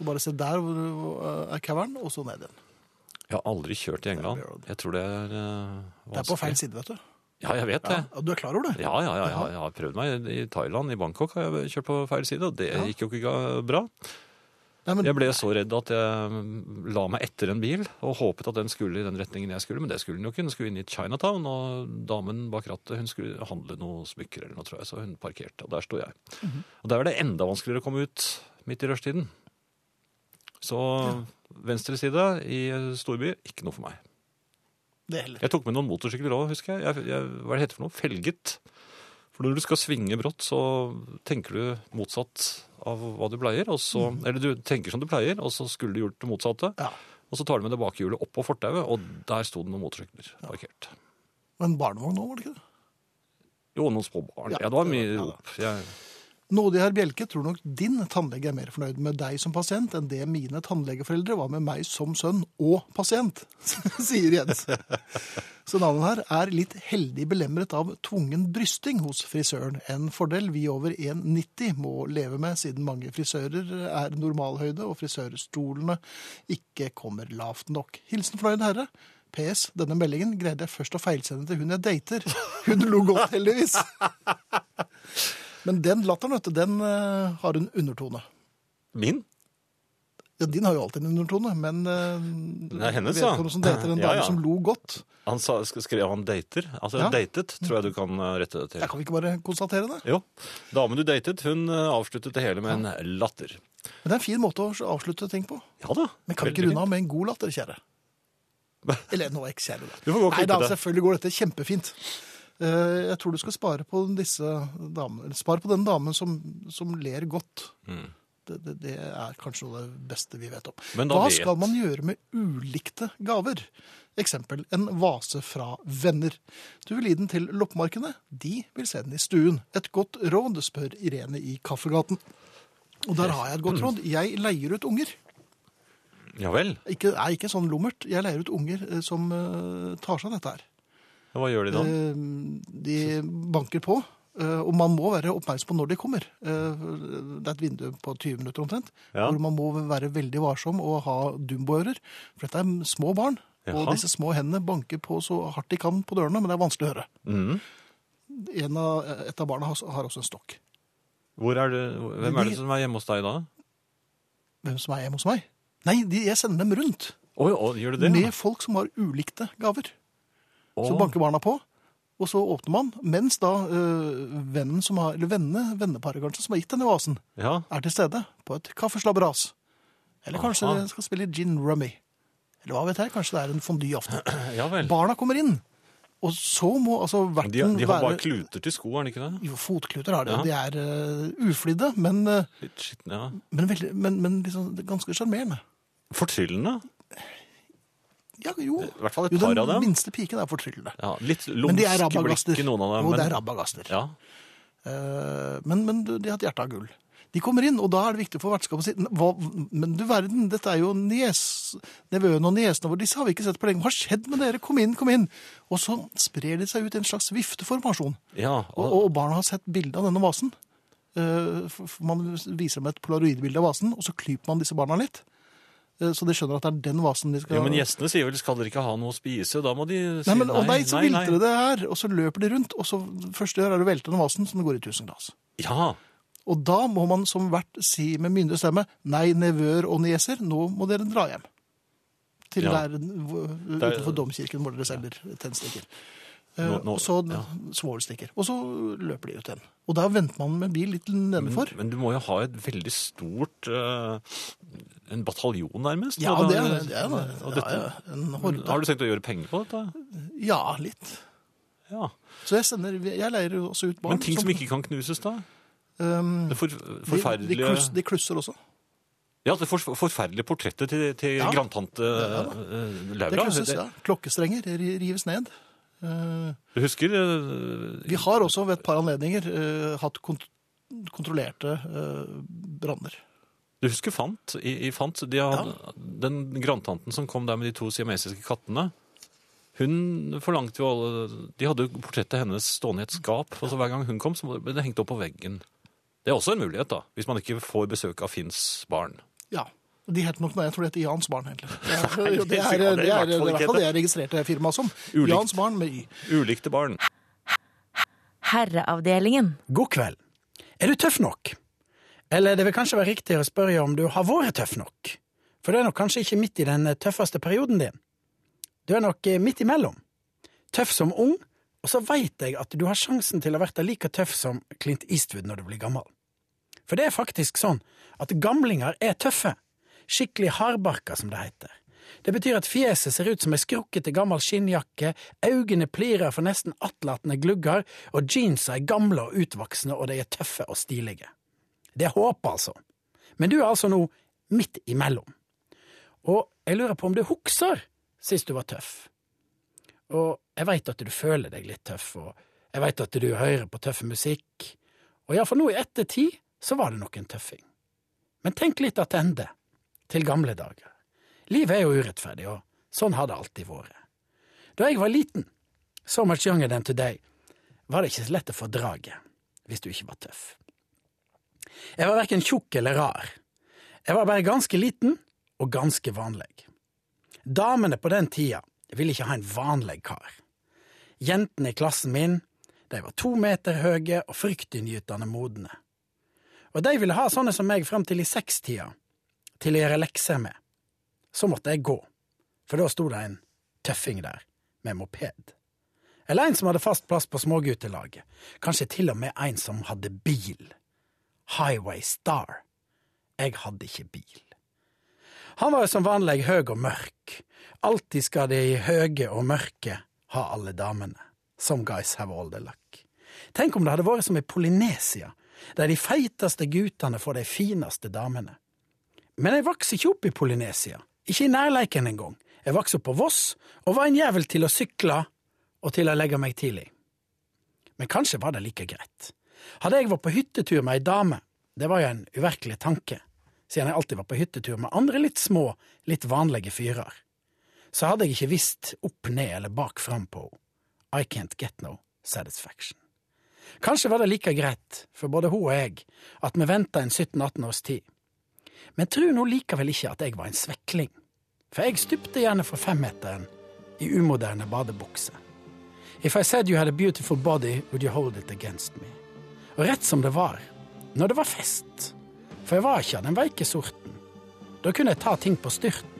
Speaker 1: Og bare se der hvor hvor eh, er cavern, og så ned igjen.
Speaker 2: Jeg har aldri kjørt i England.
Speaker 1: Abbey Road.
Speaker 2: Jeg tror det er øh,
Speaker 1: Det er på feil
Speaker 2: vanskelig.
Speaker 1: side, vet du.
Speaker 2: Ja, jeg vet
Speaker 1: Ja,
Speaker 2: det.
Speaker 1: og du er klar over det?
Speaker 2: Ja, ja, ja, jeg har prøvd meg i Thailand, i Bangkok har jeg kjørt på feil side, og det
Speaker 1: Ja.
Speaker 2: gikk jo ikke ga- bra.
Speaker 1: Nei, men,
Speaker 2: Jeg ble så redd at jeg mm, la meg etter en bil, og håpet at den skulle i den retningen jeg skulle, men det skulle den jo ikke. Den skulle inn i Chinatown, og damen bak rattet, hun skulle handle noe smykker eller noe, tror jeg, så hun parkerte, og der sto jeg.
Speaker 1: Mhm.
Speaker 2: Og der var det enda vanskeligere å komme ut midt i rushtiden. Så venstre side i storby, ikke noe for meg.
Speaker 1: det heller.
Speaker 2: Jeg tok med noen motorsykler òg, husker jeg. jeg, jeg hva er det heter for noe? Felget. For når du skal svinge brått, så tenker du motsatt av hva du pleier. Og så, Eller du tenker som du pleier, og så skulle du gjort det motsatte.
Speaker 1: Mm. Ja.
Speaker 2: Og så tar du med det bakhjulet opp på fortauet, og der sto det noen motorsykler parkert.
Speaker 1: Men barnevogn nå, var det ikke det?
Speaker 2: Jo, noen små barn.
Speaker 1: Ja,
Speaker 2: Ja, det var
Speaker 1: det
Speaker 2: mye
Speaker 1: var- ja,
Speaker 2: rop. Jeg,
Speaker 1: Nådig herr Bjelke tror nok din tannlege er mer fornøyd med deg som pasient enn det mine tannlegeforeldre var med meg som sønn og pasient, *laughs* sier Jens. Så navnet her er litt heldig belemret av tvungen brysting hos frisøren. En fordel vi over 1,90 må leve med, siden mange frisører er normalhøyde og frisørstolene ikke kommer lavt nok. Hilsen fornøyd herre. PS. Denne meldingen greide jeg først å feilsende til hun jeg dater. Hun lo godt, heldigvis. Men den latteren, vet du, den eh, har en undertone.
Speaker 2: min?
Speaker 1: Ja, din har jo alltid en undertone, men uh,
Speaker 2: Det er hennes, ja.
Speaker 1: som dater en
Speaker 2: Ja,
Speaker 1: dame
Speaker 2: ja.
Speaker 1: som lo godt.
Speaker 2: Han sa, sk- skrev han dater. Altså
Speaker 1: Ja.
Speaker 2: datet, tror jeg du kan eh, rette det
Speaker 1: Jeg
Speaker 2: til.
Speaker 1: kan vi ikke bare konstatere det?
Speaker 2: Jo. Damen du datet, hun eh, avsluttet det hele med en latter.
Speaker 1: Men det er en fin måte å avslutte ting på.
Speaker 2: Ja da.
Speaker 1: Men kan vi ikke
Speaker 2: veldig
Speaker 1: runde av med en god latter,
Speaker 2: *laughs*
Speaker 1: kjære? Eller nå ekskjære. da.
Speaker 2: Du får gå og
Speaker 1: Nei,
Speaker 2: klippe
Speaker 1: da,
Speaker 2: det.
Speaker 1: selvfølgelig går dette kjempefint. Eh, Jeg tror du skal spare på disse damene. eller Spar på den damen som, som ler godt. Det, det, det er kanskje noe av det beste vi vet om.
Speaker 2: Mm. Men da
Speaker 1: Hva
Speaker 2: vet-
Speaker 1: skal man gjøre med ulikte gaver? Eksempel en vase fra venner. Du vil gi den til loppemarkene, de vil se den i stuen. Et godt råd, spør Irene i Kaffegaten. Og der har jeg et godt
Speaker 2: Mm.
Speaker 1: råd. Jeg leier ut unger.
Speaker 2: Ja vel.
Speaker 1: Ikke, nei, ikke sånn lummert. Jeg leier ut unger eh, som eh, tar seg av dette her.
Speaker 2: Ja, Hva gjør de da?
Speaker 1: Eh, de banker på, eh, og man må være oppmerksom på når de kommer. Eh, det er et vindu på 20 minutter omtrent,
Speaker 2: Ja.
Speaker 1: hvor man må være veldig varsom og ha dumboører. For dette er små barn,
Speaker 2: Jaha.
Speaker 1: og disse små hendene banker på så hardt de kan på dørene, men det er vanskelig å høre.
Speaker 2: Mhm.
Speaker 1: En av, eh, et av barna har, har også en stokk.
Speaker 2: Hvor er det, hvem er det som er hjemme hos deg da?
Speaker 1: Hvem som er hjemme hos meg? Nei, de, jeg sender dem rundt
Speaker 2: Oi, å, gjør du det?
Speaker 1: med folk som har ulikte gaver.
Speaker 2: Å,
Speaker 1: Så banker barna på, og så åpner man, mens da øh, vennen som har, eller vennene, venneparet kanskje, som har gitt denne vasen,
Speaker 2: Ja,
Speaker 1: er til stede på et kaffeslabberas. Eller kanskje
Speaker 2: Aha.
Speaker 1: de skal spille gin rummy. Eller hva vet jeg, kanskje det er en fondyaften.
Speaker 2: ja vel.
Speaker 1: Barna kommer inn, og så må altså
Speaker 2: De,
Speaker 1: verten
Speaker 2: de har bare
Speaker 1: være...
Speaker 2: kluter til sko, er det ikke det?
Speaker 1: Jo, fotkluter har de, og de er øh, uflidde, men, øh,
Speaker 2: Litt skitne, ja.
Speaker 1: men, veldig, men, men liksom, ganske sjarmerende.
Speaker 2: Fortryllende.
Speaker 1: Ja, jo.
Speaker 2: I hvert fall et
Speaker 1: Jo,
Speaker 2: par
Speaker 1: den
Speaker 2: av dem.
Speaker 1: minste piken er fortryllende.
Speaker 2: Ja, litt
Speaker 1: Men de er
Speaker 2: lumsk i
Speaker 1: rabagaster.
Speaker 2: blikket, noen av dem.
Speaker 1: Jo, det
Speaker 2: men-
Speaker 1: er rabagaster.
Speaker 2: Ja.
Speaker 1: Eh, Men, men du, de har et hjerte av gull. De kommer inn, og da er det viktig for vertskapet å si hva, Men du verden, dette er jo nes, nevøen og niesene våre. Disse har vi ikke sett på lenge. Hva har skjedd med dere? Kom inn, kom inn! Og så sprer de seg ut i en slags vifteformasjon.
Speaker 2: ja.
Speaker 1: Og, og barna har sett bilde av denne vasen. Eh, for- for Man viser dem et polaroidbilde av vasen, og så klyper man disse barna litt. Eh, Så de skjønner at det er den vasen de skal
Speaker 2: Jo, men gjestene sier vel, skal dere ikke ha noe å spise? Da må de si
Speaker 1: Nei, men å nei, så vilter de det her! Og så løper de rundt, og så første gjør er å velte denne vasen, så den går i tusen glass.
Speaker 2: Ja,
Speaker 1: Og da må man som vert si med myndig stemme nei, nevøer og nieser, nå må dere dra hjem. Til
Speaker 2: Ja.
Speaker 1: der hvor-
Speaker 2: Der-
Speaker 1: utenfor domkirken hvor dere selger tennstikker. Eh,
Speaker 2: Nå- nå-
Speaker 1: og så
Speaker 2: ja.
Speaker 1: svovelstikker. Og så løper de ut igjen. Og da venter man med bil litt nedenfor.
Speaker 2: Men du må jo ha et veldig stort eh, En bataljon, nærmest?
Speaker 1: Ja,
Speaker 2: og
Speaker 1: det
Speaker 2: da-
Speaker 1: er det. Er, det. ja,
Speaker 2: og dette, Mm.
Speaker 1: ja, en
Speaker 2: Men
Speaker 1: horde.
Speaker 2: Har du tenkt å gjøre penger på dette?
Speaker 1: Ja, litt.
Speaker 2: Ja.
Speaker 1: Så jeg, sender, jeg leier jo også ut barn.
Speaker 2: Men ting som ikke kan knuses, da?
Speaker 1: ehm,
Speaker 2: Det for,
Speaker 1: de, de,
Speaker 2: forferdelige
Speaker 1: kluss, de klusser også.
Speaker 2: Ja, det for, forferdelige portrettet til, til
Speaker 1: Ja.
Speaker 2: grandtante
Speaker 1: Ja, da.
Speaker 2: eh,
Speaker 1: Det
Speaker 2: Laura.
Speaker 1: klusses,
Speaker 2: Det-
Speaker 1: ja. Klokkestrenger ri- rives ned. Eh,
Speaker 2: Du husker eh,
Speaker 1: Vi har også ved et par anledninger eh, hatt kont kontrollerte eh, branner.
Speaker 2: Du husker Fant? I, i Fant de hadde, Den grandtanten som kom der med de to siamesiske kattene. Hun forlangte jo alle De hadde jo portrettet hennes stående i et skap. Og så hver gang hun kom, så ble det hengt opp på veggen. Det er også en mulighet, da. Hvis man ikke får besøk av Finns barn.
Speaker 1: Ja. De het nok noe jeg tror det heter Jans Barn, *laughs* egentlig. Det er,
Speaker 2: Nei, det
Speaker 1: det er, det
Speaker 2: skal det
Speaker 1: er,
Speaker 2: i hvert
Speaker 1: det er
Speaker 2: fall
Speaker 1: i
Speaker 2: ikke
Speaker 1: hvert fall det
Speaker 2: hete.
Speaker 1: jeg registrerte firmaet som.
Speaker 2: Ulikt.
Speaker 1: Jans Barn med Y.
Speaker 2: Ulikte barn.
Speaker 3: Herreavdelingen.
Speaker 4: God kveld. Er du tøff nok? Eller det vil kanskje være riktig å spørre om du har vært tøff nok? For du er nok kanskje ikke midt i den eh, tøffeste perioden din. Du er nok eh, midt imellom. Tøff som ung, og så veit jeg at du har sjansen til å være like tøff som Clint Eastwood når du blir gammel. For det er faktisk sånn at gamlinger er tøffe. Skikkelig hardbarka, som det heter. Det betyr at fjeset ser ut som ei skrukkete gammel skinnjakke, øynene plirer for nesten attlatende glugger, og jeansa er gamle og utvoksende, og de er tøffe og stilige. Det er håp, altså. Men du er altså nå midt imellom. Og jeg lurer på om du husker sist du var tøff. Og jeg veit at du føler deg litt tøff, og jeg veit at du hører på tøff musikk, og ja, for nå i ettertid så var det nok en tøffing. Men tenk litt attende, til gamle dager. Livet er jo urettferdig, og sånn har det alltid vært. Da jeg var liten, so much younger than today, var det ikke så lett å få draget hvis du ikke var tøff. Jeg var verken tjukk eller rar. Jeg var bare ganske liten og ganske vanlig. Damene på den tida ville ikke ha en vanlig kar. Jentene i klassen min de var to meter høye og fryktinngytende modne. Og de ville ha sånne som meg fram til i sekstida, til å gjøre lekser med. Så måtte jeg gå, for da sto det en tøffing der, med moped. Eller en som hadde fast plass på småguttelaget, kanskje til og med en som hadde bil. Highway Star. Jeg hadde ikke bil. Han var jo som vanlig høy og mørk. Alltid skal de høye og mørke ha alle damene. Some guys have all the luck. Tenk om det hadde vært som i Polynesia, der de feiteste guttene får de fineste damene. Men jeg vokste ikke opp i Polynesia, ikke i nærleiken engang. Jeg vokste opp på Voss, og var en jævel til å sykle og til å legge meg tidlig. Men kanskje var det like greit. Hadde jeg vært på hyttetur med ei dame, det var jo en uvirkelig tanke, siden jeg alltid var på hyttetur med andre litt små, litt vanlige fyrer, så hadde jeg ikke visst opp ned eller bak fram på henne. I can't get no satisfaction. Kanskje var det like greit, for både hun og jeg, at vi venta en 17-18 års tid. Men tru nå likevel ikke at jeg var en svekling, for jeg stupte gjerne for femmeteren i umoderne badebukse. If I said you had a beautiful body, would you hold it against me? Og rett som det var, når det var fest, for jeg var ikke av den veike sorten, da kunne jeg ta ting på styrten.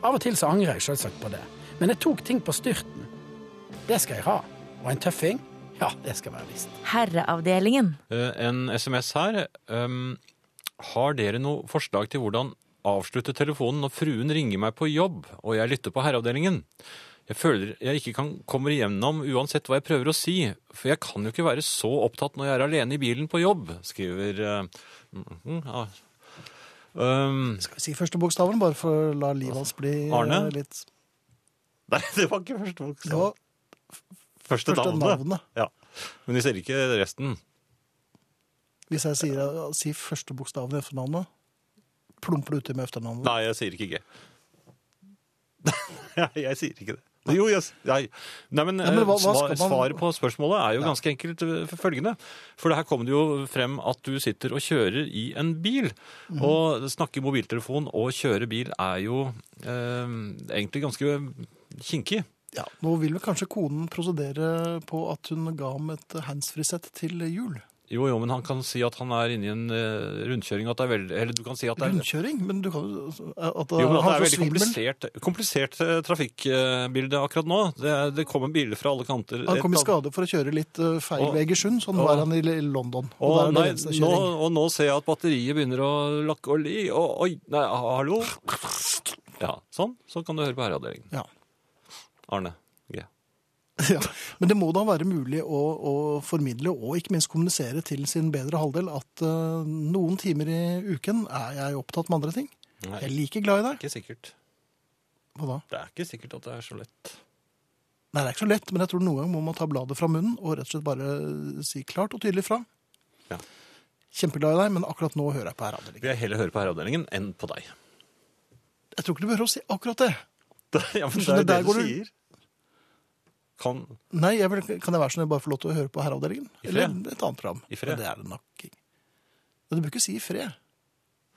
Speaker 4: Av og til så angrer jeg selvsagt på det, men jeg tok ting på styrten. Det skal jeg ha. Og en tøffing? Ja, det skal være visst.
Speaker 3: Herreavdelingen.
Speaker 2: Eh, en SMS her. Um, har dere noe forslag til hvordan avslutte telefonen når fruen ringer meg på jobb og jeg lytter på herreavdelingen? Jeg føler jeg ikke kan, kommer igjennom uansett hva jeg prøver å si, for jeg kan jo ikke være så opptatt når jeg er alene i bilen på jobb, skriver eh, mm, ja. um,
Speaker 1: Skal vi si første bokstaven, bare for å la livet hans bli eh,
Speaker 2: Arne?
Speaker 1: litt
Speaker 2: Nei, det var ikke første bokstav.
Speaker 1: Det var
Speaker 2: første,
Speaker 1: første
Speaker 2: navnet.
Speaker 1: navnet.
Speaker 2: Ja. Men vi ser ikke resten.
Speaker 1: Hvis jeg sier eh, si første bokstaven i etternavnet, plumper du uti med etternavnet.
Speaker 2: Nei, jeg sier ikke G. *laughs* Nei, jeg sier ikke det. Jo, jeg, s- nei. nei, men,
Speaker 1: Ja, men
Speaker 2: eh,
Speaker 1: hva- hva
Speaker 2: svar,
Speaker 1: skal man-
Speaker 2: svaret på spørsmålet er jo ganske enkelt eh, f- følgende. For her kom det jo frem at du sitter og kjører i en bil.
Speaker 1: Mhm.
Speaker 2: Og snakke mobiltelefon og kjøre bil er jo eh, egentlig ganske kinkig.
Speaker 1: Ja, nå vil vel kanskje konen prosedere på at hun ga ham et handsfrisett til jul.
Speaker 2: Jo, jo, men han kan si at han er inne i en eh, rundkjøring, at det er veldig Eller du kan si at det er
Speaker 1: Rundkjøring? Men du kan jo At
Speaker 2: jo,
Speaker 1: han
Speaker 2: men at det er
Speaker 1: får
Speaker 2: veldig
Speaker 1: svimmel.
Speaker 2: komplisert, komplisert eh, trafikkbilde akkurat nå. Det, er- det kommer biler fra alle kanter.
Speaker 1: Han kom i
Speaker 2: Et-
Speaker 1: skade for å kjøre litt eh, feil
Speaker 2: Og-
Speaker 1: ved Egersund, sånn
Speaker 2: og-
Speaker 1: var han i L- London. Og,
Speaker 2: Og,
Speaker 1: der er
Speaker 2: nei,
Speaker 1: det
Speaker 2: nå,
Speaker 1: venstrekjøring.
Speaker 2: og nå ser jeg at batteriet begynner å lakke og li. Og, oi, nei, hallo? Ja, sånn. Så kan du høre på herreavdelingen.
Speaker 1: Ja.
Speaker 2: Arne G.
Speaker 1: *laughs* Ja. Men det må da være mulig å, å formidle og ikke minst kommunisere til sin bedre halvdel at eh, noen timer i uken er jeg opptatt med andre ting. Jeg er
Speaker 2: Nei,
Speaker 1: like glad i deg.
Speaker 2: ikke sikkert.
Speaker 1: Hva da?
Speaker 2: Det er ikke sikkert at det er så lett.
Speaker 1: Nei, det er ikke så lett, men jeg tror noen ganger må man ta bladet fra munnen og rett og slett bare eh, si klart og tydelig fra.
Speaker 2: Ja.
Speaker 1: Kjempeglad i deg, men akkurat nå hører jeg på herreavdelingen.
Speaker 2: Vil jeg heller høre på herreavdelingen enn på deg. *laughs*
Speaker 1: Jeg tror ikke du behøver å si akkurat det.
Speaker 2: Ja, men
Speaker 1: Skjønner, der går du-
Speaker 2: Kan
Speaker 1: Nei, jeg vil, kan jeg være sånn at jeg bare får lov til å høre på herreavdelingen?
Speaker 2: I
Speaker 1: Eller
Speaker 2: fred.
Speaker 1: et annet program?
Speaker 2: I fred.
Speaker 1: Men Det er det nok. ikke. Men du bør ikke si i fred.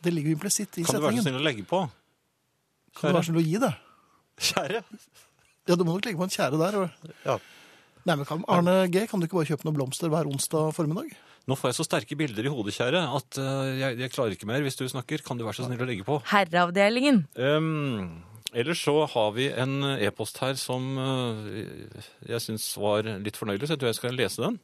Speaker 1: Det ligger jo implisitt i
Speaker 2: Kan du være så
Speaker 1: setningen.
Speaker 2: snill å legge på?
Speaker 1: Kan du være så snill å gi det?
Speaker 2: Kjære?
Speaker 1: Ja, du må nok legge på en kjære der. og-
Speaker 2: Ja.
Speaker 1: Nei, men kan, Arne G, kan du ikke bare kjøpe noen blomster hver onsdag formiddag?
Speaker 2: Nå får jeg så sterke bilder i hodet, kjære, at eh, jeg, jeg klarer ikke mer hvis du snakker. Kan du være så snill å legge på?
Speaker 3: Herreavdelingen.
Speaker 2: Um, ellers så har vi en e-post her som uh, jeg syns var litt fornøyelig, så jeg tror jeg skal lese den.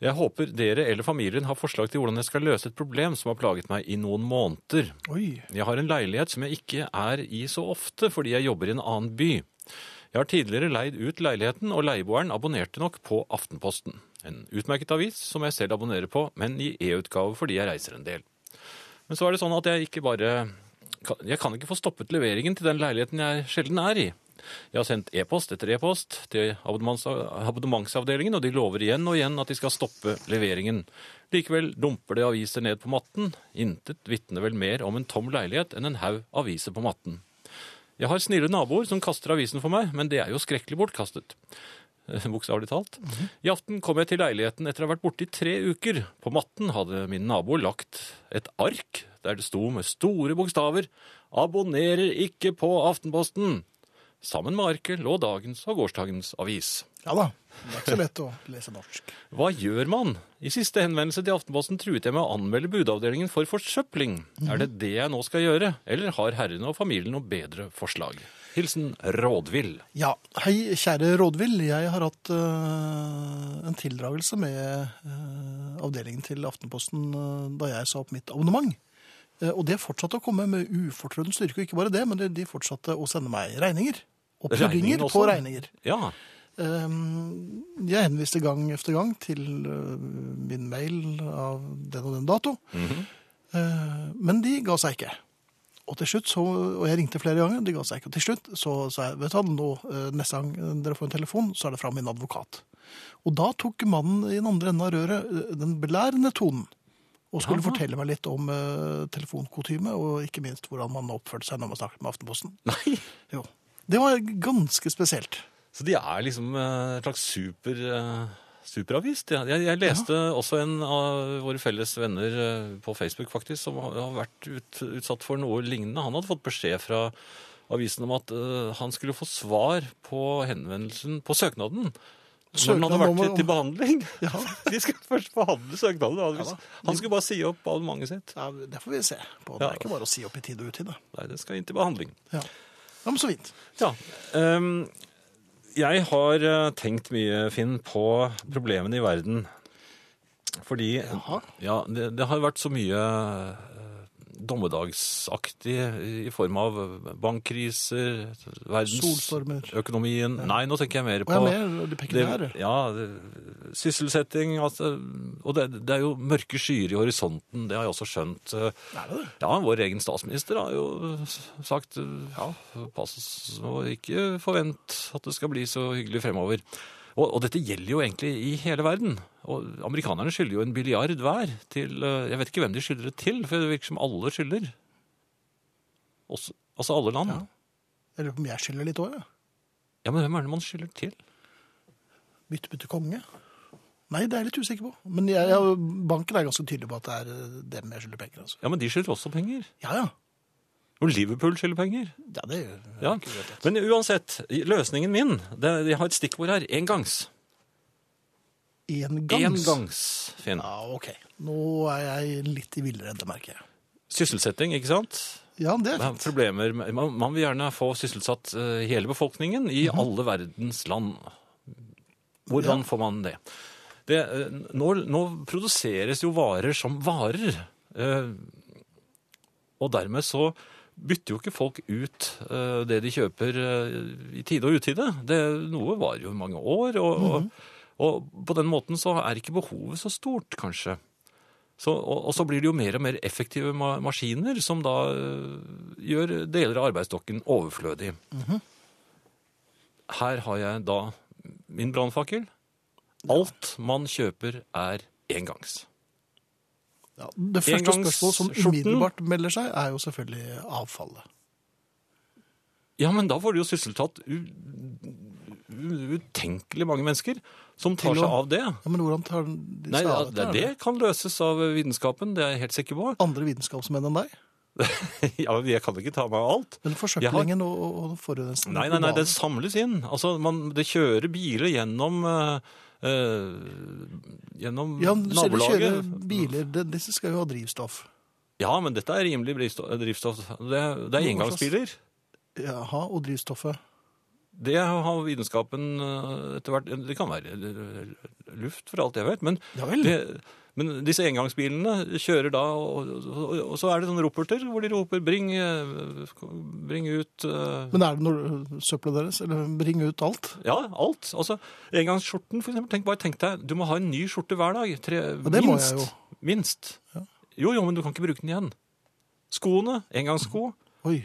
Speaker 2: Jeg håper dere eller familien har forslag til hvordan jeg skal løse et problem som har plaget meg i noen måneder.
Speaker 1: Oi.
Speaker 2: Jeg har en leilighet som jeg ikke er i så ofte fordi jeg jobber i en annen by. Jeg har tidligere leid ut leiligheten, og leieboeren abonnerte nok på Aftenposten. En utmerket avis som jeg selv abonnerer på, men i e-utgave fordi jeg reiser en del. Men så er det sånn at jeg ikke bare kan- Jeg kan ikke få stoppet leveringen til den leiligheten jeg sjelden er i. Jeg har sendt e-post etter e-post til abonnements- abonnementsavdelingen, og de lover igjen og igjen at de skal stoppe leveringen. Likevel dumper de aviser ned på matten. Intet vitner vel mer om en tom leilighet enn en haug aviser på matten. Jeg har snille naboer som kaster avisen for meg, men det er jo skrekkelig bortkastet. Eh, Bokstavelig talt.
Speaker 1: Mhm.
Speaker 2: I aften kom jeg til leiligheten etter å ha vært borte i tre uker. På matten hadde min nabo lagt et ark der det sto med store bokstaver 'Abonnerer ikke på Aftenposten'. Sammen med arket lå dagens og gårsdagens avis.
Speaker 1: Ja da. Det er ikke så lett å lese norsk.
Speaker 2: Hva gjør man? I siste henvendelse til Aftenposten truet jeg med å anmelde budavdelingen for forsøpling.
Speaker 1: Mhm.
Speaker 2: Er det det jeg nå skal gjøre, eller har herrene og familien noe bedre forslag? Hilsen Rådvill.
Speaker 1: Ja, hei, kjære Rådvill. Jeg har hatt øh, en tildragelse med øh, avdelingen til Aftenposten øh, da jeg sa opp mitt abonnement. Eh, og det fortsatte å komme med ufortrøden styrke. Og ikke bare det, men de, de fortsatte å sende meg regninger.
Speaker 2: Regningen
Speaker 1: Oppfordringer
Speaker 2: også?
Speaker 1: på regninger.
Speaker 2: Ja.
Speaker 1: Ehm, Jeg henviste gang efter gang til øh, min mail av den og den dato. Eh, Men de ga seg ikke. Og til slutt, så, og jeg ringte flere ganger, de ga seg ikke. Og til slutt så sa jeg, vet du hva, nå, eh, neste gang dere får en telefon, så er det fra min advokat. Og da tok mannen i den andre enden av røret eh, den belærende tonen. Og skulle
Speaker 2: Jaha.
Speaker 1: fortelle meg litt om uh, telefonkutyme, og ikke minst hvordan man oppførte seg når man snakket med Aftenposten.
Speaker 2: Nei.
Speaker 1: Jo. Det var ganske spesielt.
Speaker 2: Så de er liksom eh, en slags super, eh, superavis. de. Jeg, jeg leste også en av våre felles venner eh, på Facebook faktisk, som har har vært ut, utsatt for noe lignende. Han hadde fått beskjed fra avisen om at eh, han skulle få svar på henvendelsen, på søknaden. Når den hadde
Speaker 1: Søknaden
Speaker 2: vært
Speaker 1: om-
Speaker 2: til, til behandling. *laughs*
Speaker 1: Ja.
Speaker 2: De skal først behandle søknaden. Han, han skulle bare si opp abonnementet sitt.
Speaker 1: Ja, det får vi se på. Det
Speaker 2: Ja.
Speaker 1: er ikke bare å si opp i tide og utide.
Speaker 2: Nei, det skal inn til behandling.
Speaker 1: Ja. ja, men så fint.
Speaker 2: Ja. ehm, jeg har eh, tenkt mye, Finn, på problemene i verden. Fordi
Speaker 1: Jaha.
Speaker 2: ja, det, det har vært så mye eh, dommedagsaktig i form av bankkriser,
Speaker 1: Solstormer.
Speaker 2: verdensøkonomien Nei, nå tenker jeg mer
Speaker 1: Og jeg
Speaker 2: på
Speaker 1: er mer det pekulære.
Speaker 2: det- ja, det- sysselsetting altså, Og det, det er jo mørke skyer i horisonten, det har jeg også skjønt.
Speaker 1: Er det det?
Speaker 2: Ja, vår egen statsminister har jo sagt ja, pass og ikke forvent at det skal bli så hyggelig fremover. Og, og dette gjelder jo egentlig i hele verden. Og amerikanerne skylder jo en billiard hver til eh, Jeg vet ikke hvem de skylder det til, for det virker som alle skylder. Også, altså alle land. Ja.
Speaker 1: Jeg lurer på om jeg skylder litt òg, jeg.
Speaker 2: men hvem er det man skylder til?
Speaker 1: Bytte, bytte konge. Nei, det er jeg litt usikker på. Men jeg, jeg, banken er ganske tydelig på at det er eh, dem jeg skylder penger. Altså.
Speaker 2: Ja, men de skylder også penger.
Speaker 1: Ja, ja.
Speaker 2: Og Liverpool skylder penger.
Speaker 1: Ja, det er jo
Speaker 2: Ja.
Speaker 1: ikke urettet.
Speaker 2: Men uansett, løsningen min det, Jeg har et stikkord her. Engangs.
Speaker 1: Engangs.
Speaker 2: Engangs, Finn.
Speaker 1: Ja, ok. Nå er jeg litt i villrede, merker jeg.
Speaker 2: Sysselsetting, ikke sant?
Speaker 1: Ja, det er
Speaker 2: Det er
Speaker 1: fint.
Speaker 2: problemer. med- Man, man vil gjerne få sysselsatt eh, hele befolkningen i alle verdens land. Hvordan får man det? det eh, nå, nå produseres jo varer som varer. eh, og dermed så bytter jo ikke folk ut eh, det de kjøper eh, i tide og utide. Det, noe varer jo i mange år, og, og, og på den måten så er ikke behovet så stort, kanskje. Så, og, og så blir det jo mer og mer effektive ma maskiner som da øh, gjør deler av arbeidsstokken overflødig. Her har jeg da min brannfakkel. Alt man kjøper er engangs.
Speaker 1: Ja, det første
Speaker 2: Engangs-
Speaker 1: spørsmålet som
Speaker 2: skjorten.
Speaker 1: umiddelbart melder seg, er jo selvfølgelig avfallet.
Speaker 2: Ja, men da får du jo sysseltatt u- u- utenkelig mange mennesker som tar
Speaker 1: Til
Speaker 2: seg
Speaker 1: å-
Speaker 2: av det.
Speaker 1: Ja, men hvordan tar den de
Speaker 2: Nei,
Speaker 1: seg
Speaker 2: ja,
Speaker 1: av dette?
Speaker 2: det, det kan løses av vitenskapen, det er jeg helt sikker på.
Speaker 1: Andre vitenskapsmenn enn deg?
Speaker 2: *laughs* Ja, men Jeg kan ikke ta meg av alt.
Speaker 1: Men forsøplingen og, og- og forurensningen
Speaker 2: Nei, nei, nei, det
Speaker 1: globalt.
Speaker 2: samles inn. Altså, man, det kjører biler gjennom eh, eh, Gjennom
Speaker 1: ja, men du ser de kjører
Speaker 2: nabolaget.
Speaker 1: biler, det, disse skal jo ha drivstoff.
Speaker 2: Ja, men dette er rimelig drivstoff. drivstoff. Det, det er
Speaker 1: slags-
Speaker 2: engangsbiler.
Speaker 1: Jaha, og drivstoffet.
Speaker 2: Det har vitenskapen eh, etter hvert Det kan være eh, luft, for alt jeg vet. Men,
Speaker 1: Ja vel.
Speaker 2: det, men disse engangsbilene kjører da, og, og, og så er det sånne roperter hvor de roper 'bring, eh, bring ut eh,
Speaker 1: Men er det noe søppelet deres? Eller bring ut alt?
Speaker 2: Ja, alt. Altså, engangsskjorten, for eksempel. Tenk, bare tenk deg, du må ha en ny skjorte hver dag. Tre,
Speaker 1: det må
Speaker 2: minst.
Speaker 1: jeg jo.
Speaker 2: Minst. Jo, jo, men du kan ikke bruke den igjen. Skoene, engangssko,
Speaker 1: Oi.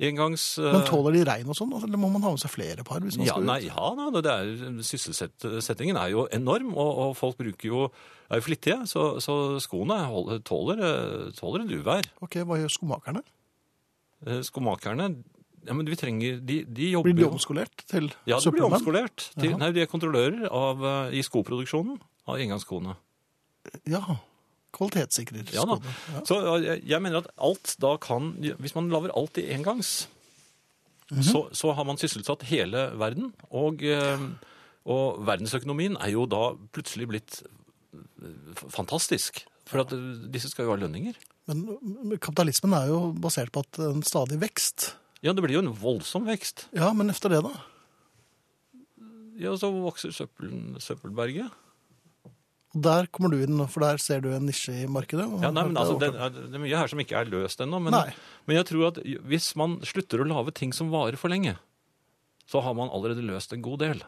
Speaker 2: engangs... eh,
Speaker 1: Men tåler de regn og sånn? altså, Eller må man ha med seg flere par? hvis man
Speaker 2: ja,
Speaker 1: skal ut?
Speaker 2: nei, ja, nei, det er, sysselsettingen er jo enorm, og, og folk bruker jo, er jo flittige, så, så skoene holder, tåler, eh, tåler et uvær.
Speaker 1: Ok, Hva gjør skomakerne?
Speaker 2: Eh, Skomakerne, ja, men vi trenger, de, de
Speaker 1: Blir
Speaker 2: jobber
Speaker 1: de
Speaker 2: jo...
Speaker 1: omskolert til
Speaker 2: Ja, de blir
Speaker 1: søppelmenn?
Speaker 2: omskolert. De,
Speaker 1: Jaha.
Speaker 2: nei, de er kontrollører av, eh, i skoproduksjonen av engangsskoene.
Speaker 1: Ja. Kvalitetssikrer
Speaker 2: Ja da.
Speaker 1: skoene. Ja.
Speaker 2: Så ja, jeg, jeg mener at alt da kan Hvis man lager alt i engangs, så, så har man sysselsatt hele verden. Og, eh, og verdensøkonomien er jo da plutselig blitt eh, f- fantastisk. For at eh, disse skal jo ha lønninger.
Speaker 1: Men men kapitalismen er jo basert på at en stadig vekst.
Speaker 2: Ja, det blir jo en voldsom vekst.
Speaker 1: Ja, men efter det, da?
Speaker 2: Ja, Så vokser søppelen, søppelberget.
Speaker 1: Og Der kommer du inn, for der ser du en nisje i markedet. og-
Speaker 2: Ja, nei, men altså, det, er- det er mye her som ikke er løst ennå. Men,
Speaker 1: Nei.
Speaker 2: men jeg tror at hvis man slutter å lage ting som varer for lenge, så har man allerede løst en god del.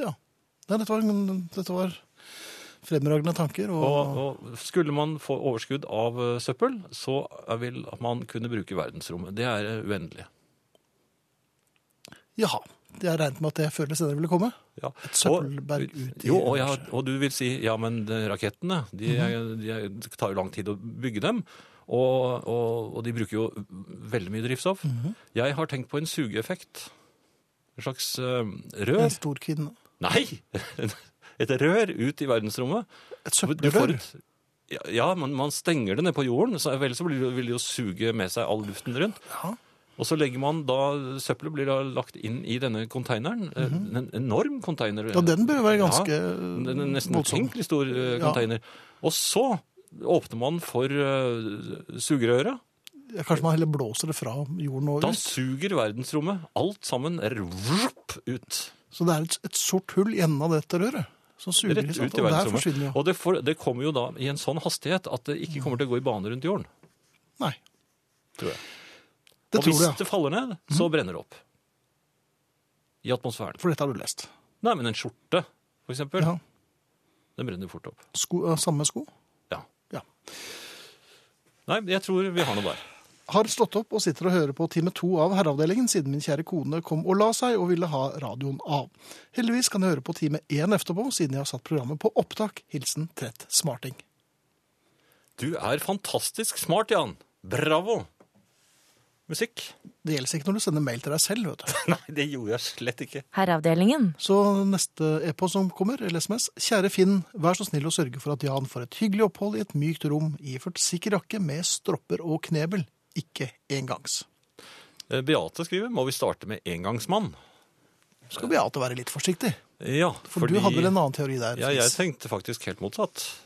Speaker 1: Ja. Nei, dette, var, dette var fremragende tanker. Og,
Speaker 2: Og, og skulle man få overskudd av eh, søppel, så vil man kunne bruke verdensrommet. Det er eh, uendelig.
Speaker 1: Jaha. Jeg regnet med at det før eller senere ville komme.
Speaker 2: Ja.
Speaker 1: Et søppelberg ut i
Speaker 2: Jo, og, ja,
Speaker 1: universet. Mhm.
Speaker 2: og du vil si ja, men eh, rakettene de, er- de er- det tar jo lang tid å bygge dem. Og, og, og de bruker jo veldig mye drivstoff.
Speaker 1: Mhm.
Speaker 2: Jeg har tenkt på en sugeeffekt. En slags eh,
Speaker 1: En
Speaker 2: rør
Speaker 1: stor kvinne.
Speaker 2: Nei! *laughs* Et rør ut i verdensrommet.
Speaker 1: Et
Speaker 2: Du får
Speaker 1: søppelrør.
Speaker 2: et, ja, ja, men man stenger det ned på jorden, så ellers så blir det- vil det jo suge med seg all luften rundt.
Speaker 1: Ja.
Speaker 2: Og så legger man da Søppelet blir da lagt inn i denne konteineren. eh, En enorm konteiner.
Speaker 1: Mhm. Ja, den bør jo være ganske
Speaker 2: Ja, den er nesten
Speaker 1: voldsom.
Speaker 2: utenkelig stor eh,
Speaker 1: Ja.
Speaker 2: konteiner. Og så åpner man for eh, sugerøret.
Speaker 1: Ja, kanskje man heller blåser det fra jorden og
Speaker 2: Da
Speaker 1: ut.
Speaker 2: suger verdensrommet alt sammen er vrup, ut.
Speaker 1: Så det er et, et sort hull i enden av dette røret. Som suger
Speaker 2: Rett
Speaker 1: sant?
Speaker 2: ut
Speaker 1: Og der
Speaker 2: i verdensrommet.
Speaker 1: forsvinner jo.
Speaker 2: Og det, får, det kommer jo da i en sånn hastighet at det ikke kommer til å gå i bane rundt jorden.
Speaker 1: Nei.
Speaker 2: Tror jeg.
Speaker 1: Det
Speaker 2: og
Speaker 1: tror Mhm.
Speaker 2: hvis
Speaker 1: jeg.
Speaker 2: det faller ned, så brenner det opp. I atmosfæren.
Speaker 1: For dette har du lest.
Speaker 2: Nei, men en skjorte, for eksempel,
Speaker 1: Ja.
Speaker 2: den brenner fort opp.
Speaker 1: Sko, eh, samme sko.
Speaker 2: Ja.
Speaker 1: Ja.
Speaker 2: Nei, jeg tror vi har noe der.
Speaker 1: Har slått opp og sitter og hører på time to av Herreavdelingen siden min kjære kone kom og la seg og ville ha radioen av. Heldigvis kan jeg høre på time én etterpå, siden jeg har satt programmet på opptak. Hilsen Trett Smarting.
Speaker 2: Du er fantastisk smart, Jan. Bravo! Musikk?
Speaker 1: Det gjelder ikke når du sender mail til deg selv, vet du.
Speaker 2: Nei, det gjorde jeg slett ikke.
Speaker 3: Herreavdelingen.
Speaker 1: Så neste e-post som kommer, eller SMS. Kjære Finn, vær så snill å sørge for at Jan får et hyggelig opphold i et mykt rom iført sikker jakke med stropper og knebel. Ikke engangs.
Speaker 2: Eh, Beate skriver, må vi starte med engangsmann?
Speaker 1: Skal Beate være litt forsiktig?
Speaker 2: Ja,
Speaker 1: For du hadde vel en annen teori der?
Speaker 2: Ja, jeg
Speaker 1: Fritz?
Speaker 2: tenkte faktisk helt motsatt.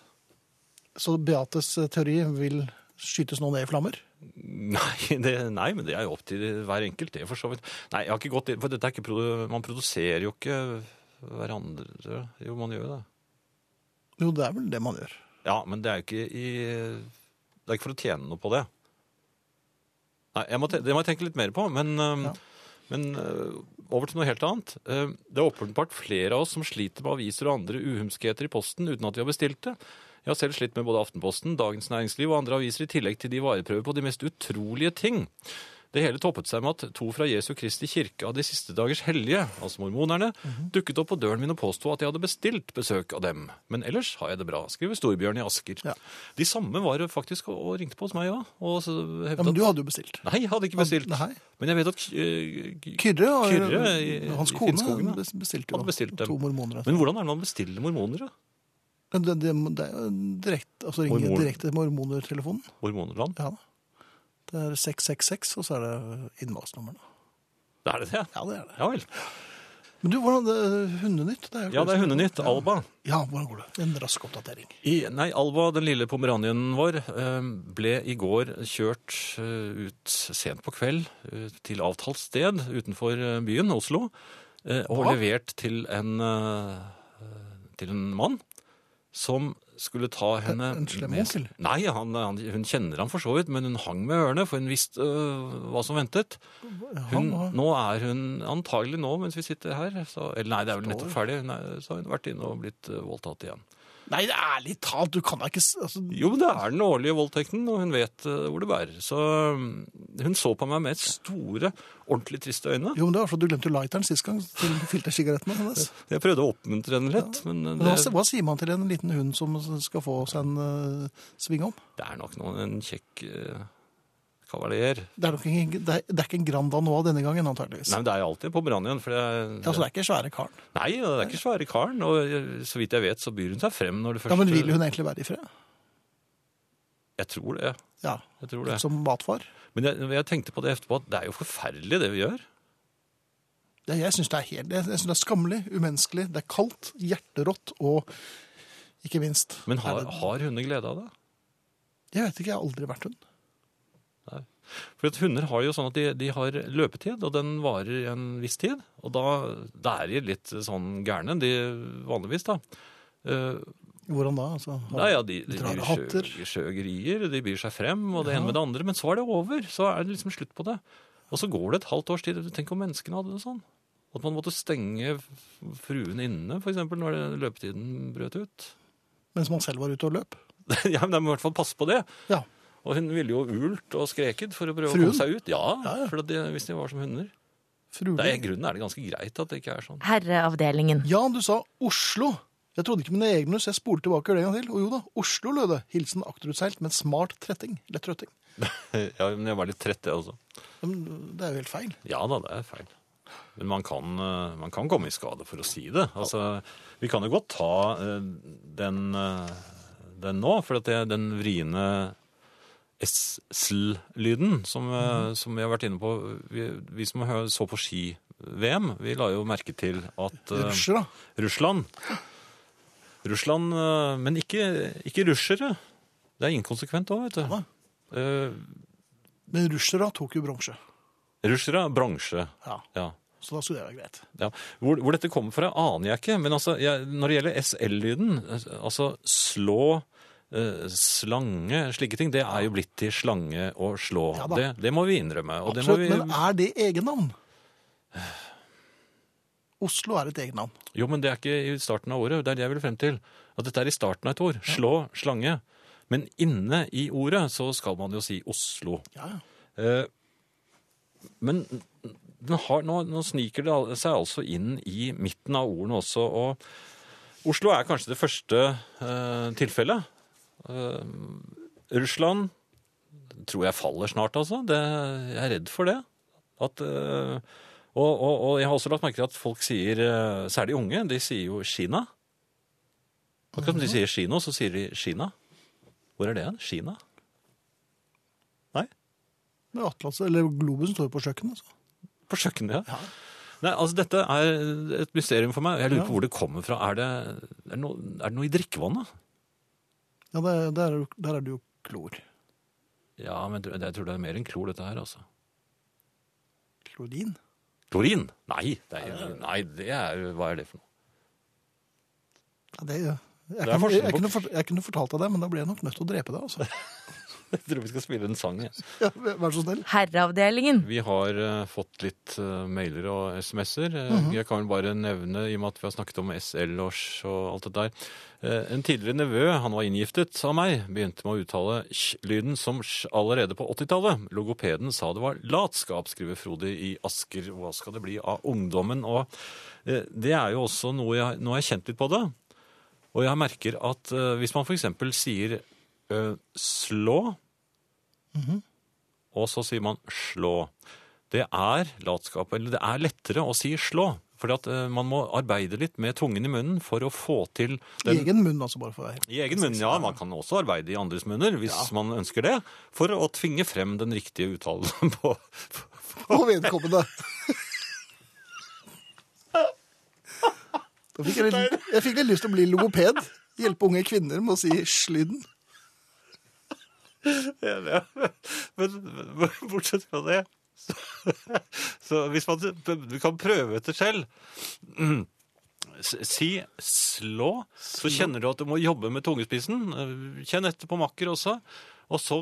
Speaker 1: Så Beates eh, teori vil skytes nå ned i flammer?
Speaker 2: *laughs* Nei, det, nei, men det er jo opp til hver enkelt, det for så vidt. Nei, jeg har ikke gått inn, for dette er ikke produ man produserer jo ikke hverandre. Jo, man gjør jo det.
Speaker 1: Jo, det er vel det man gjør.
Speaker 2: Ja, men det er jo ikke i Det er ikke for å tjene noe på det. Nei, jeg må te, Det må jeg tenke litt mer på, men, øhm,
Speaker 1: Ja.
Speaker 2: men øh, over til noe helt annet. Ehm, Det er åpenbart flere av oss som sliter med aviser og andre uhumskheter i posten uten at vi har bestilt det. Jeg har selv slitt med både Aftenposten, Dagens Næringsliv og andre aviser, i tillegg til de vareprøver på de mest utrolige ting. Det hele toppet seg med at to fra Jesu Kristi kirke av de siste dagers hellige, altså mormonerne,
Speaker 1: Mhm.
Speaker 2: dukket opp på døren min og påsto at jeg hadde bestilt besøk av dem. Men ellers har jeg det bra, skriver Storbjørn i Asker.
Speaker 1: Ja.
Speaker 2: De samme var jo faktisk og- og ringte på hos meg òg. Og så
Speaker 1: Ja,
Speaker 2: hevdet
Speaker 1: Men
Speaker 2: at
Speaker 1: du hadde jo bestilt.
Speaker 2: Nei, jeg hadde ikke bestilt.
Speaker 1: Nei.
Speaker 2: Men jeg vet at eh, K-
Speaker 1: Kyrre og
Speaker 2: Kyrre i-
Speaker 1: hans
Speaker 2: i
Speaker 1: kone
Speaker 2: Finnskogen, ja.
Speaker 1: bes- bestilte jo
Speaker 2: Hadde bestilt dem.
Speaker 1: to mormonere.
Speaker 2: Men hvordan er det man bestiller mormoner? da?
Speaker 1: Men det, det, det er jo direkte altså ringe
Speaker 2: Mormon.
Speaker 1: direkte til mormonertelefonen.
Speaker 2: Mormonerland?
Speaker 1: Ja da. Det er 666, og så er det innvalgsnummeret.
Speaker 2: Det er det det?
Speaker 1: Ja, det er det.
Speaker 2: Ja vel.
Speaker 1: Men du, hvordan det, Hundenytt? Det er jo liksom-
Speaker 2: Ja, det er hundenytt. Alba.
Speaker 1: Ja, hvordan går det? En rask oppdatering.
Speaker 2: I, nei, Alva, den lille pomeranien vår, eh, ble i går kjørt eh, ut sent på kveld eh, til avtalt sted utenfor eh, byen, Oslo, eh, og
Speaker 1: Hva?
Speaker 2: levert til en, eh, til en mann som skulle ta henne
Speaker 1: en slem
Speaker 2: med-
Speaker 1: onkel?
Speaker 2: Nei, han, han, hun kjenner ham for så vidt, men hun hang med ørene, for hun visste eh, hva som ventet. Hun,
Speaker 1: Ja,
Speaker 2: nå er hun antagelig nå, mens vi sitter her, så, eller nei, det er vel nettopp ferdig, nei, så har hun vært inne og blitt eh, voldtatt igjen.
Speaker 1: Nei, det er ærlig talt, du kan da ikke s- altså,
Speaker 2: Jo, men det er den årlige voldtekten, og hun vet eh, hvor det bærer. Så mm, hun så på meg med store, ordentlig triste øyne.
Speaker 1: Jo, men det var så du glemte lighteren sist gang til filtersigarettene hennes.
Speaker 2: Jeg prøvde å oppmuntre henne litt, men eh,
Speaker 1: Men altså, hva,
Speaker 2: det,
Speaker 1: hva sier man til en liten hund som skal få seg en eh, sving om?
Speaker 2: det er nok noen, en kjekk eh, kavaler.
Speaker 1: Det er, nok ikke, det er, det er ikke en Grand Danois denne gangen, antageligvis.
Speaker 2: Nei, men det er jo alltid på Brann for det er,
Speaker 1: Altså, det er ikke svære karen.
Speaker 2: Nei, det er ikke svære karen, og eh, så vidt jeg vet, så byr hun seg frem når det først
Speaker 1: Ja, men vil hun egentlig være i fred?
Speaker 2: Jeg tror det.
Speaker 1: Ja,
Speaker 2: Jeg tror det.
Speaker 1: som matfar?
Speaker 2: Men jeg, jeg tenkte på det etterpå, at det er jo forferdelig det vi gjør.
Speaker 1: Det, jeg syns det, er helt- jeg synes det er skammelig, umenneskelig, det er kaldt, hjerterått og ikke minst
Speaker 2: Men har,
Speaker 1: er det-
Speaker 2: har hunder glede av det?
Speaker 1: Jeg vet ikke, jeg har aldri vært hund.
Speaker 2: For at hunder har jo sånn at de, de har løpetid, og den varer en viss tid. Og da, da er de litt sånn gærne, de vanligvis, da. Eh,
Speaker 1: Hvordan da? Altså, har-
Speaker 2: nei, ja, de, de
Speaker 1: drar
Speaker 2: blir
Speaker 1: hatter.
Speaker 2: sjø- sjøgrier, de byr seg frem, og det ene med det andre. Men så er det over. Så er det liksom slutt på det. Og så går det et halvt års tid. Tenk om menneskene hadde det sånn. At man måtte stenge fruen inne, f.eks., når det- løpetiden brøt ut. *laughs*
Speaker 1: Mens man selv var ute og løp?
Speaker 2: ja, men De må i hvert fall passe på det.
Speaker 1: Ja.
Speaker 2: Og hun ville jo ult og skreket for å prøve
Speaker 1: Fruen?
Speaker 2: å komme seg ut. Ja,
Speaker 1: Ja, ja.
Speaker 2: For at de, hvis de var som hunder. Det er, I
Speaker 1: Frule.
Speaker 2: grunnen er det ganske greit at det ikke er sånn.
Speaker 3: Herreavdelingen.
Speaker 1: Ja, du sa Oslo. Jeg trodde ikke mine egne, så jeg spolte tilbake og gjorde det en gang til. Og jo da, Oslo lød det. Hilsen akterutseilt, men smart tretting. Lett trøtting.
Speaker 2: *laughs* Ja, men jeg var litt trett, jeg også.
Speaker 1: Men Det er jo helt feil.
Speaker 2: Ja da, det er feil. Men man kan, eh, man kan komme i skade for å si det. Altså, vi kan jo godt ta eh, den, eh, den nå, for at det, den vriene S-sl-lyden som, eh, som vi har vært inne på Vi, vi som hø- så på ski-VM, vi la jo merke til at eh,
Speaker 1: Rusher, da.
Speaker 2: Russland. Russland, eh, men ikke, ikke russere. Det er inkonsekvent òg, vet du.
Speaker 1: da.
Speaker 2: Eh,
Speaker 1: Men russere tok jo bronse.
Speaker 2: russere er bransje.
Speaker 1: Ja,
Speaker 2: Ja.
Speaker 1: så da skulle det være greit.
Speaker 2: ja. Hvor, hvor dette kommer fra, aner jeg ikke. Men altså, jeg, når det gjelder SL-lyden, eh, altså slå eh, Slange, slike ting, det er jo blitt til slange og slå.
Speaker 1: Ja da.
Speaker 2: det, det må vi innrømme. Og det må
Speaker 1: Absolutt,
Speaker 2: vi,
Speaker 1: Men er det egennavn? Oslo er et egennavn.
Speaker 2: Jo, men det er ikke i starten av ordet. Det er det jeg vil frem til. At dette er i starten av et ord. Slå, slange. Men inne i ordet så skal man jo si Oslo.
Speaker 1: Ja, ja.
Speaker 2: Eh, Men den har, nå, nå sniker det al- seg altså inn i midten av ordene også, og Oslo er kanskje det første eh, tilfellet. Eh, Russland tror jeg faller snart, altså. Det, jeg er redd for det. At, eh, og, og, og jeg har også lagt merke til at folk sier, eh, særlig unge, de sier jo Kina. Akkurat som de sier kino, så sier de Kina. Hvor er det hen? Kina?
Speaker 1: Men Atlas, eller Globusen står jo på altså. kjøkkenet. Så.
Speaker 2: På kjøkkenet, ja. Nei, altså Dette er et mysterium for meg. Jeg lurer
Speaker 1: Ja.
Speaker 2: på hvor det kommer fra. Er det, er det, noe, er det noe i drikkevannet?
Speaker 1: Ja, der, der, er jo- der er det jo klor.
Speaker 2: Ja, men jeg tror- jeg tror det er mer enn klor, dette her. altså.
Speaker 1: Klorin.
Speaker 2: Klorin? Nei, det er, nei, det er, hva er det for noe? *laughs*
Speaker 1: Ja, det, jeg,
Speaker 2: er
Speaker 1: kan, jeg,
Speaker 2: forskjell på-
Speaker 1: kunne, fort- jeg kunne fortalt deg det, men da blir jeg nok nødt til å drepe
Speaker 2: *laughs*
Speaker 1: deg. altså.
Speaker 2: Jeg tror vi skal spille en sang. jeg.
Speaker 1: Ja, vær så snill.
Speaker 3: Herreavdelingen.
Speaker 2: Vi har eh, fått litt eh, mailer og SMS-er. Eh, Jeg kan vel bare nevne, i og med at vi har snakket om SL og, sj- og alt det der Eh, En tidligere nevø, han var inngiftet av meg, begynte med å uttale sj-lyden som sj allerede på 80-tallet. Logopeden sa det var latskap, skriver Frode i Asker. Hva skal det bli av ungdommen? Og eh, det er jo også noe jeg Nå har jeg kjent litt på det. Og jeg merker at eh, hvis man f.eks. sier eh, slå,
Speaker 1: Mhm.
Speaker 2: og så sier man slå Det er latskap, eller det er lettere å si slå. Fordi at eh, man må arbeide litt med tungen i munnen for å få til
Speaker 1: I
Speaker 2: den
Speaker 1: egen munn, altså, bare for å være helt
Speaker 2: i egen munn, ja. Man kan også arbeide i andres munner hvis man ønsker det, for å tvinge frem den riktige uttalen *laughs* på,
Speaker 1: Og vedkommende. *laughs* Da fikk jeg, litt, jeg fikk litt lyst til å bli logoped. Hjelpe unge kvinner med å si sj-lyden.
Speaker 2: Ja, *laughs* men, men bortsett fra det så, *laughs* så hvis man du kan prøve etter selv *clears throat* Mm. S- Si slå, så kjenner du at du må jobbe med tungespissen. Eh, Kjenn etter på makker også. Og så,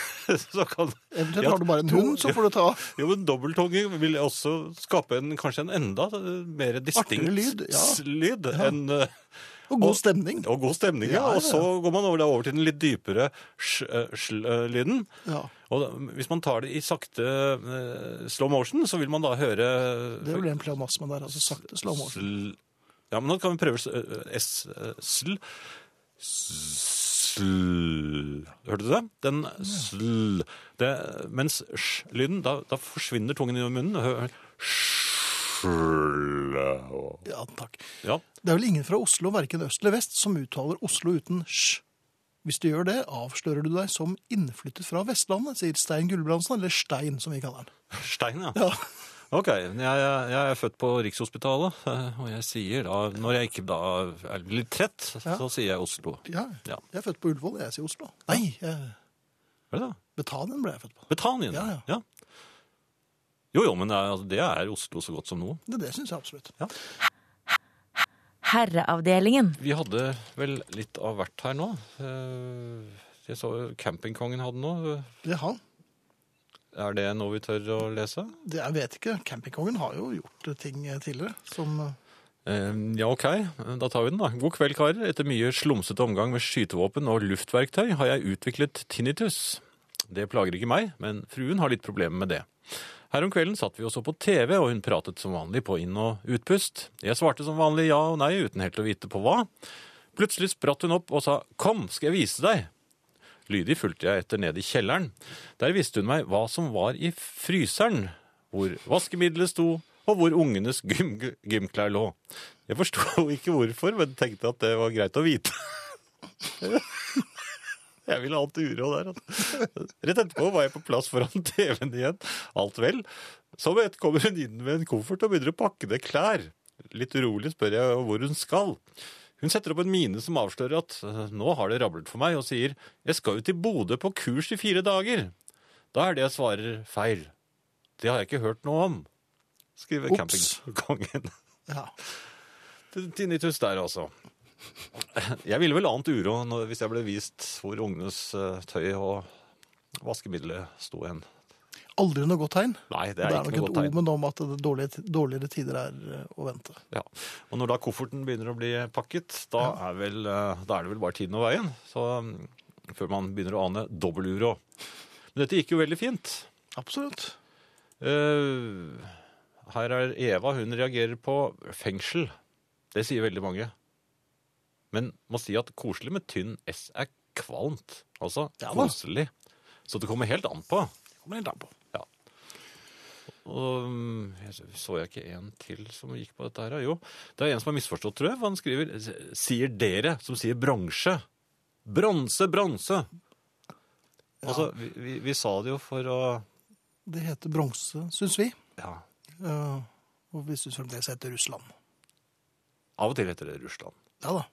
Speaker 2: *laughs* så kan
Speaker 1: Eventuelt
Speaker 2: Ja,
Speaker 1: har du bare en hund, så får du ta
Speaker 2: *laughs* Jo, men dobbelttunge vil også skape en, kanskje en enda eh, mer distinkt
Speaker 1: Artigere lyd, ja.
Speaker 2: s- lyd enn eh,
Speaker 1: og god stemning.
Speaker 2: og god stemning, ja.
Speaker 1: Ja, ja, ja.
Speaker 2: Og så går man over, da, over til den litt dypere eh, sl-lyden.
Speaker 1: Ja,
Speaker 2: Og da, hvis man tar det i sakte eh, slow motion, så vil man da høre
Speaker 1: det blir en pleonasme der. altså Sakte slow motion.
Speaker 2: sl, Ja, men nå kan vi prøve s, eh, s eh, sl, sl Hørte du det? Den sl det, Mens sj-lyden, da, da forsvinner tungen i munnen. Hør, sl
Speaker 1: Ja, takk.
Speaker 2: Ja.
Speaker 1: Det er vel ingen fra Oslo, verken øst eller vest, som uttaler Oslo uten sj. Hvis du gjør det, avslører du deg som innflyttet fra Vestlandet, sier Stein Gulbrandsen, eller Stein, som vi kaller han.
Speaker 2: Stein, ja.
Speaker 1: Ja.
Speaker 2: Ok, jeg, jeg, jeg er født på Rikshospitalet, eh, og jeg sier da, når jeg ikke da er litt trett, så sier jeg Oslo.
Speaker 1: Ja.
Speaker 2: Ja.
Speaker 1: Jeg er født på Ullevål, jeg sier Oslo. Nei, jeg-
Speaker 2: Er det det?
Speaker 1: Betanien ble jeg født på.
Speaker 2: Betanien,
Speaker 1: Ja, ja.
Speaker 2: Jo, jo, men det er, altså, det er Oslo så godt som noe.
Speaker 1: Det, det syns jeg absolutt.
Speaker 3: Herreavdelingen.
Speaker 2: Vi hadde vel litt av hvert her nå. Eh, Jeg så campingkongen hadde noe.
Speaker 1: Det er han.
Speaker 2: Er det noe vi tør å lese?
Speaker 1: Det, jeg vet ikke. Campingkongen har jo gjort eh, ting tidligere som
Speaker 2: Eh, Ja, ok. Da tar vi den, da. God kveld, karer. Etter mye slumsete omgang med skytevåpen og luftverktøy har jeg utviklet tinnitus. Det plager ikke meg, men fruen har litt problemer med det. Her om kvelden satt vi og så på TV, og hun pratet som vanlig på inn- og utpust. Jeg svarte som vanlig ja og nei, uten helt å vite på hva. Plutselig spratt hun opp og sa 'Kom, skal jeg vise deg'. Lydig fulgte jeg etter ned i kjelleren. Der visste hun meg hva som var i fryseren, hvor vaskemiddelet sto, og hvor ungenes gym gymklær lå. Jeg forsto *laughs* ikke hvorfor, men tenkte at det var greit å vite. *laughs* Jeg ville ha alt uro der. altså. Rett etterpå var jeg på plass foran *laughs* TV-en igjen. Alt vel. Så vet- kommer hun inn med en koffert og begynner å pakke ned klær. Litt urolig spør jeg hvor hun skal. Hun setter opp en mine som avslører at eh, nå har det rablet for meg, og sier jeg skal jo til Bodø på kurs i fire dager. Da er det jeg svarer feil. Det har jeg ikke hørt noe om, skriver
Speaker 1: Ops.
Speaker 2: campingkongen. *laughs*
Speaker 1: ja.
Speaker 2: Tinnitus der også. Jeg ville vel ant uro når, hvis jeg ble vist hvor ungenes eh, tøy og vaskemiddelet sto hen.
Speaker 1: Aldri noe godt tegn.
Speaker 2: Nei, det
Speaker 1: Det
Speaker 2: er,
Speaker 1: er, nok
Speaker 2: ikke noe
Speaker 1: et
Speaker 2: godt tegn.
Speaker 1: omen om at det er dårlige, dårligere tider er eh, å vente.
Speaker 2: Ja. Og når da kofferten begynner å bli pakket, da, er, vel, eh, da er det vel bare tiden og veien. Så, mm, før man begynner å ane dobbeluro. Men dette gikk jo veldig fint.
Speaker 1: Absolutt.
Speaker 2: Eh, her er Eva, hun reagerer på fengsel. Det sier veldig mange. Men må si at koselig med tynn S er kvalmt. Altså
Speaker 1: Ja da.
Speaker 2: koselig. Så det kommer helt an på.
Speaker 1: Det kommer helt an på.
Speaker 2: Og mm, jeg så- så jeg ikke en til som gikk på dette her? ja. Jo, det er en som har misforstått, tror jeg. for Han skriver s- 'sier dere', som sier bronse. Bronse, bronse! Altså, vi, vi, vi sa det jo for å
Speaker 1: Det heter bronse, syns vi.
Speaker 2: Ja.
Speaker 1: Eh, Og hvis du fremdeles heter Russland.
Speaker 2: Av og til heter det Russland.
Speaker 1: Ja da.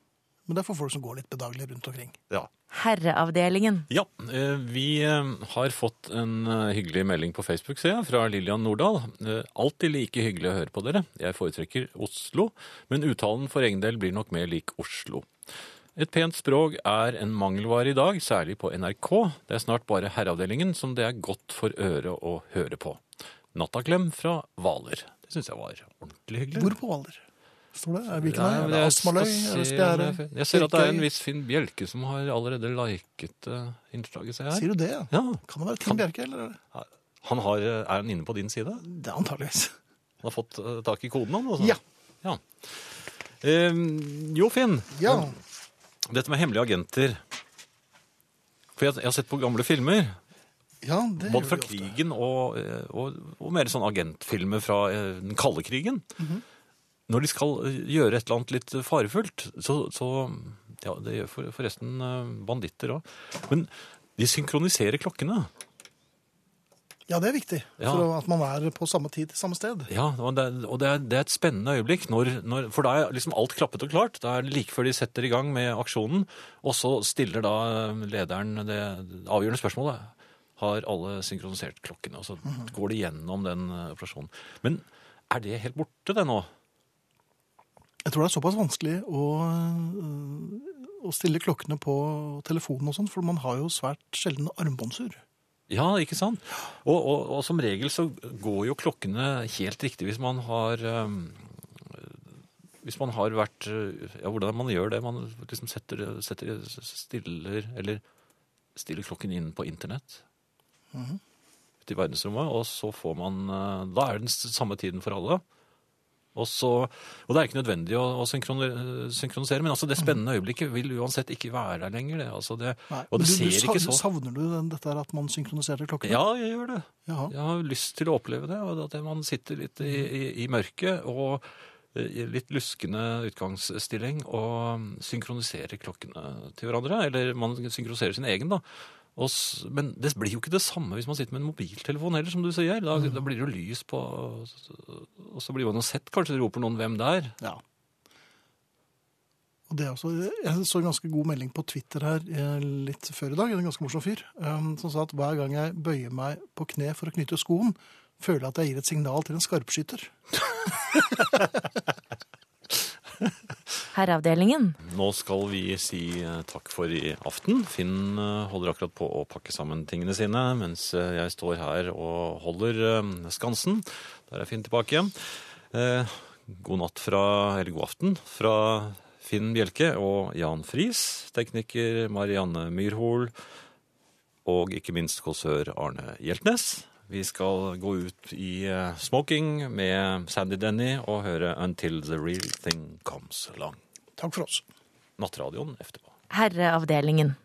Speaker 1: Men det er for folk som går litt bedagelig rundt omkring.
Speaker 2: Ja.
Speaker 3: Herreavdelingen.
Speaker 2: ja eh, vi eh, har fått en eh, hyggelig melding på Facebook, ser jeg, fra Lillian Nordahl. Eh, Alltid like hyggelig å høre på dere. Jeg foretrekker Oslo, men uttalen for egen del blir nok mer lik Oslo. Et pent språk er en mangelvare i dag, særlig på NRK. Det er snart bare Herreavdelingen som det er godt for øret å høre på. Nattaklem fra Hvaler. Det syns jeg var ordentlig hyggelig.
Speaker 1: Hvor på Hvaler? Står det? Er
Speaker 2: Ja,
Speaker 1: Vikenøy?
Speaker 2: men
Speaker 1: er det
Speaker 2: jeg skal
Speaker 1: Astmaløy?
Speaker 2: se
Speaker 1: Er det
Speaker 2: om
Speaker 1: Spjære?
Speaker 2: jeg- Jeg ser at det er en
Speaker 1: Kirkøy?
Speaker 2: viss Finn Bjelke som har allerede liket eh, innslaget, ser jeg her.
Speaker 1: Sier du det? ja?
Speaker 2: Ja,
Speaker 1: Kan det være Tim Bjerke, eller? er det-
Speaker 2: han har, eh, er han inne på din side? Han
Speaker 1: Det er
Speaker 2: *laughs*
Speaker 1: antageligvis.
Speaker 2: har fått eh, tak i koden han? altså?
Speaker 1: Ja.
Speaker 2: ja. Eh, jo, Finn.
Speaker 1: Ja.
Speaker 2: Dette med hemmelige agenter. For jeg, jeg har sett på gamle filmer,
Speaker 1: ja det
Speaker 2: både fra
Speaker 1: gjør vi ofte.
Speaker 2: krigen og, eh, og, og mer sånn agentfilmer fra eh, den kalde krigen.
Speaker 1: Mhm.
Speaker 2: Når de skal eh, gjøre et eller annet litt farefullt, så, så Ja, det gjør for- forresten eh, banditter òg. Men de synkroniserer klokkene.
Speaker 1: Ja, det er viktig.
Speaker 2: Ja.
Speaker 1: For at man er på samme tid til samme sted.
Speaker 2: Ja, og det, er- og det er, det er et spennende øyeblikk, når, når, for da er liksom alt klappet og klart. Da er det like før de setter i gang med aksjonen, og så stiller da lederen det avgjørende spørsmålet. Har alle synkronisert klokkene? Og så går de gjennom den eh, operasjonen. Men er det helt borte, det nå?
Speaker 1: Jeg tror det er såpass vanskelig å, øh, å stille klokkene på telefonen og sånn, for man har jo svært sjelden armbåndsur.
Speaker 2: Ja, ikke sant? Og, og, og som regel så går jo klokkene helt riktig hvis man har ehm, Hvis man har vært eh, Ja, hvordan er det man gjør det? Man liksom setter, setter stiller Eller stiller klokken inn på internett. Ute i verdensrommet, og så får man eh, Da er det den s- samme tiden for alle. Og, så, og det er ikke nødvendig å, å synkron- synkronisere, men altså det spennende øyeblikket vil uansett ikke være der lenger. Det, altså det, og det
Speaker 1: Men
Speaker 2: ser
Speaker 1: sa-
Speaker 2: ikke så
Speaker 1: Savner du den, dette her at man synkroniserte klokkene?
Speaker 2: Ja, jeg gjør det.
Speaker 1: Jaha.
Speaker 2: Jeg har lyst til å oppleve det, og at man sitter litt i, i, i mørket og eh, i litt luskende utgangsstilling og mm, synkroniserer klokkene til hverandre, eller man synkroniserer sin egen da. Og s- men det blir jo ikke det samme hvis man sitter med en mobiltelefon heller, som du sier. Da, da blir det jo lys på, og så blir man jo sett kanskje, roper noen hvem det er.
Speaker 1: Ja. Og det er også, jeg så en ganske god melding på Twitter her eh, litt før i dag, en ganske morsom fyr, eh, som sa at hver gang jeg bøyer meg på kne for å knytte skoen, føler jeg at jeg gir et signal til en skarpskytter.
Speaker 3: Herreavdelingen.
Speaker 2: Nå skal vi si eh, takk for i aften. Finn eh, holder akkurat på å pakke sammen tingene sine, mens eh, jeg står her og holder eh, skansen. Der er Finn tilbake igjen. Eh, God natt fra, eller god aften, fra Finn Bjelke og Jan Friis, tekniker Marianne Myrhol, og ikke minst kåsør Arne Hjeltnes. Vi skal gå ut i eh, smoking med Sandy Denny og høre Until the Real Thing Comes Along.
Speaker 1: Takk for oss.
Speaker 2: Nattradioen etterpå.
Speaker 3: Herreavdelingen.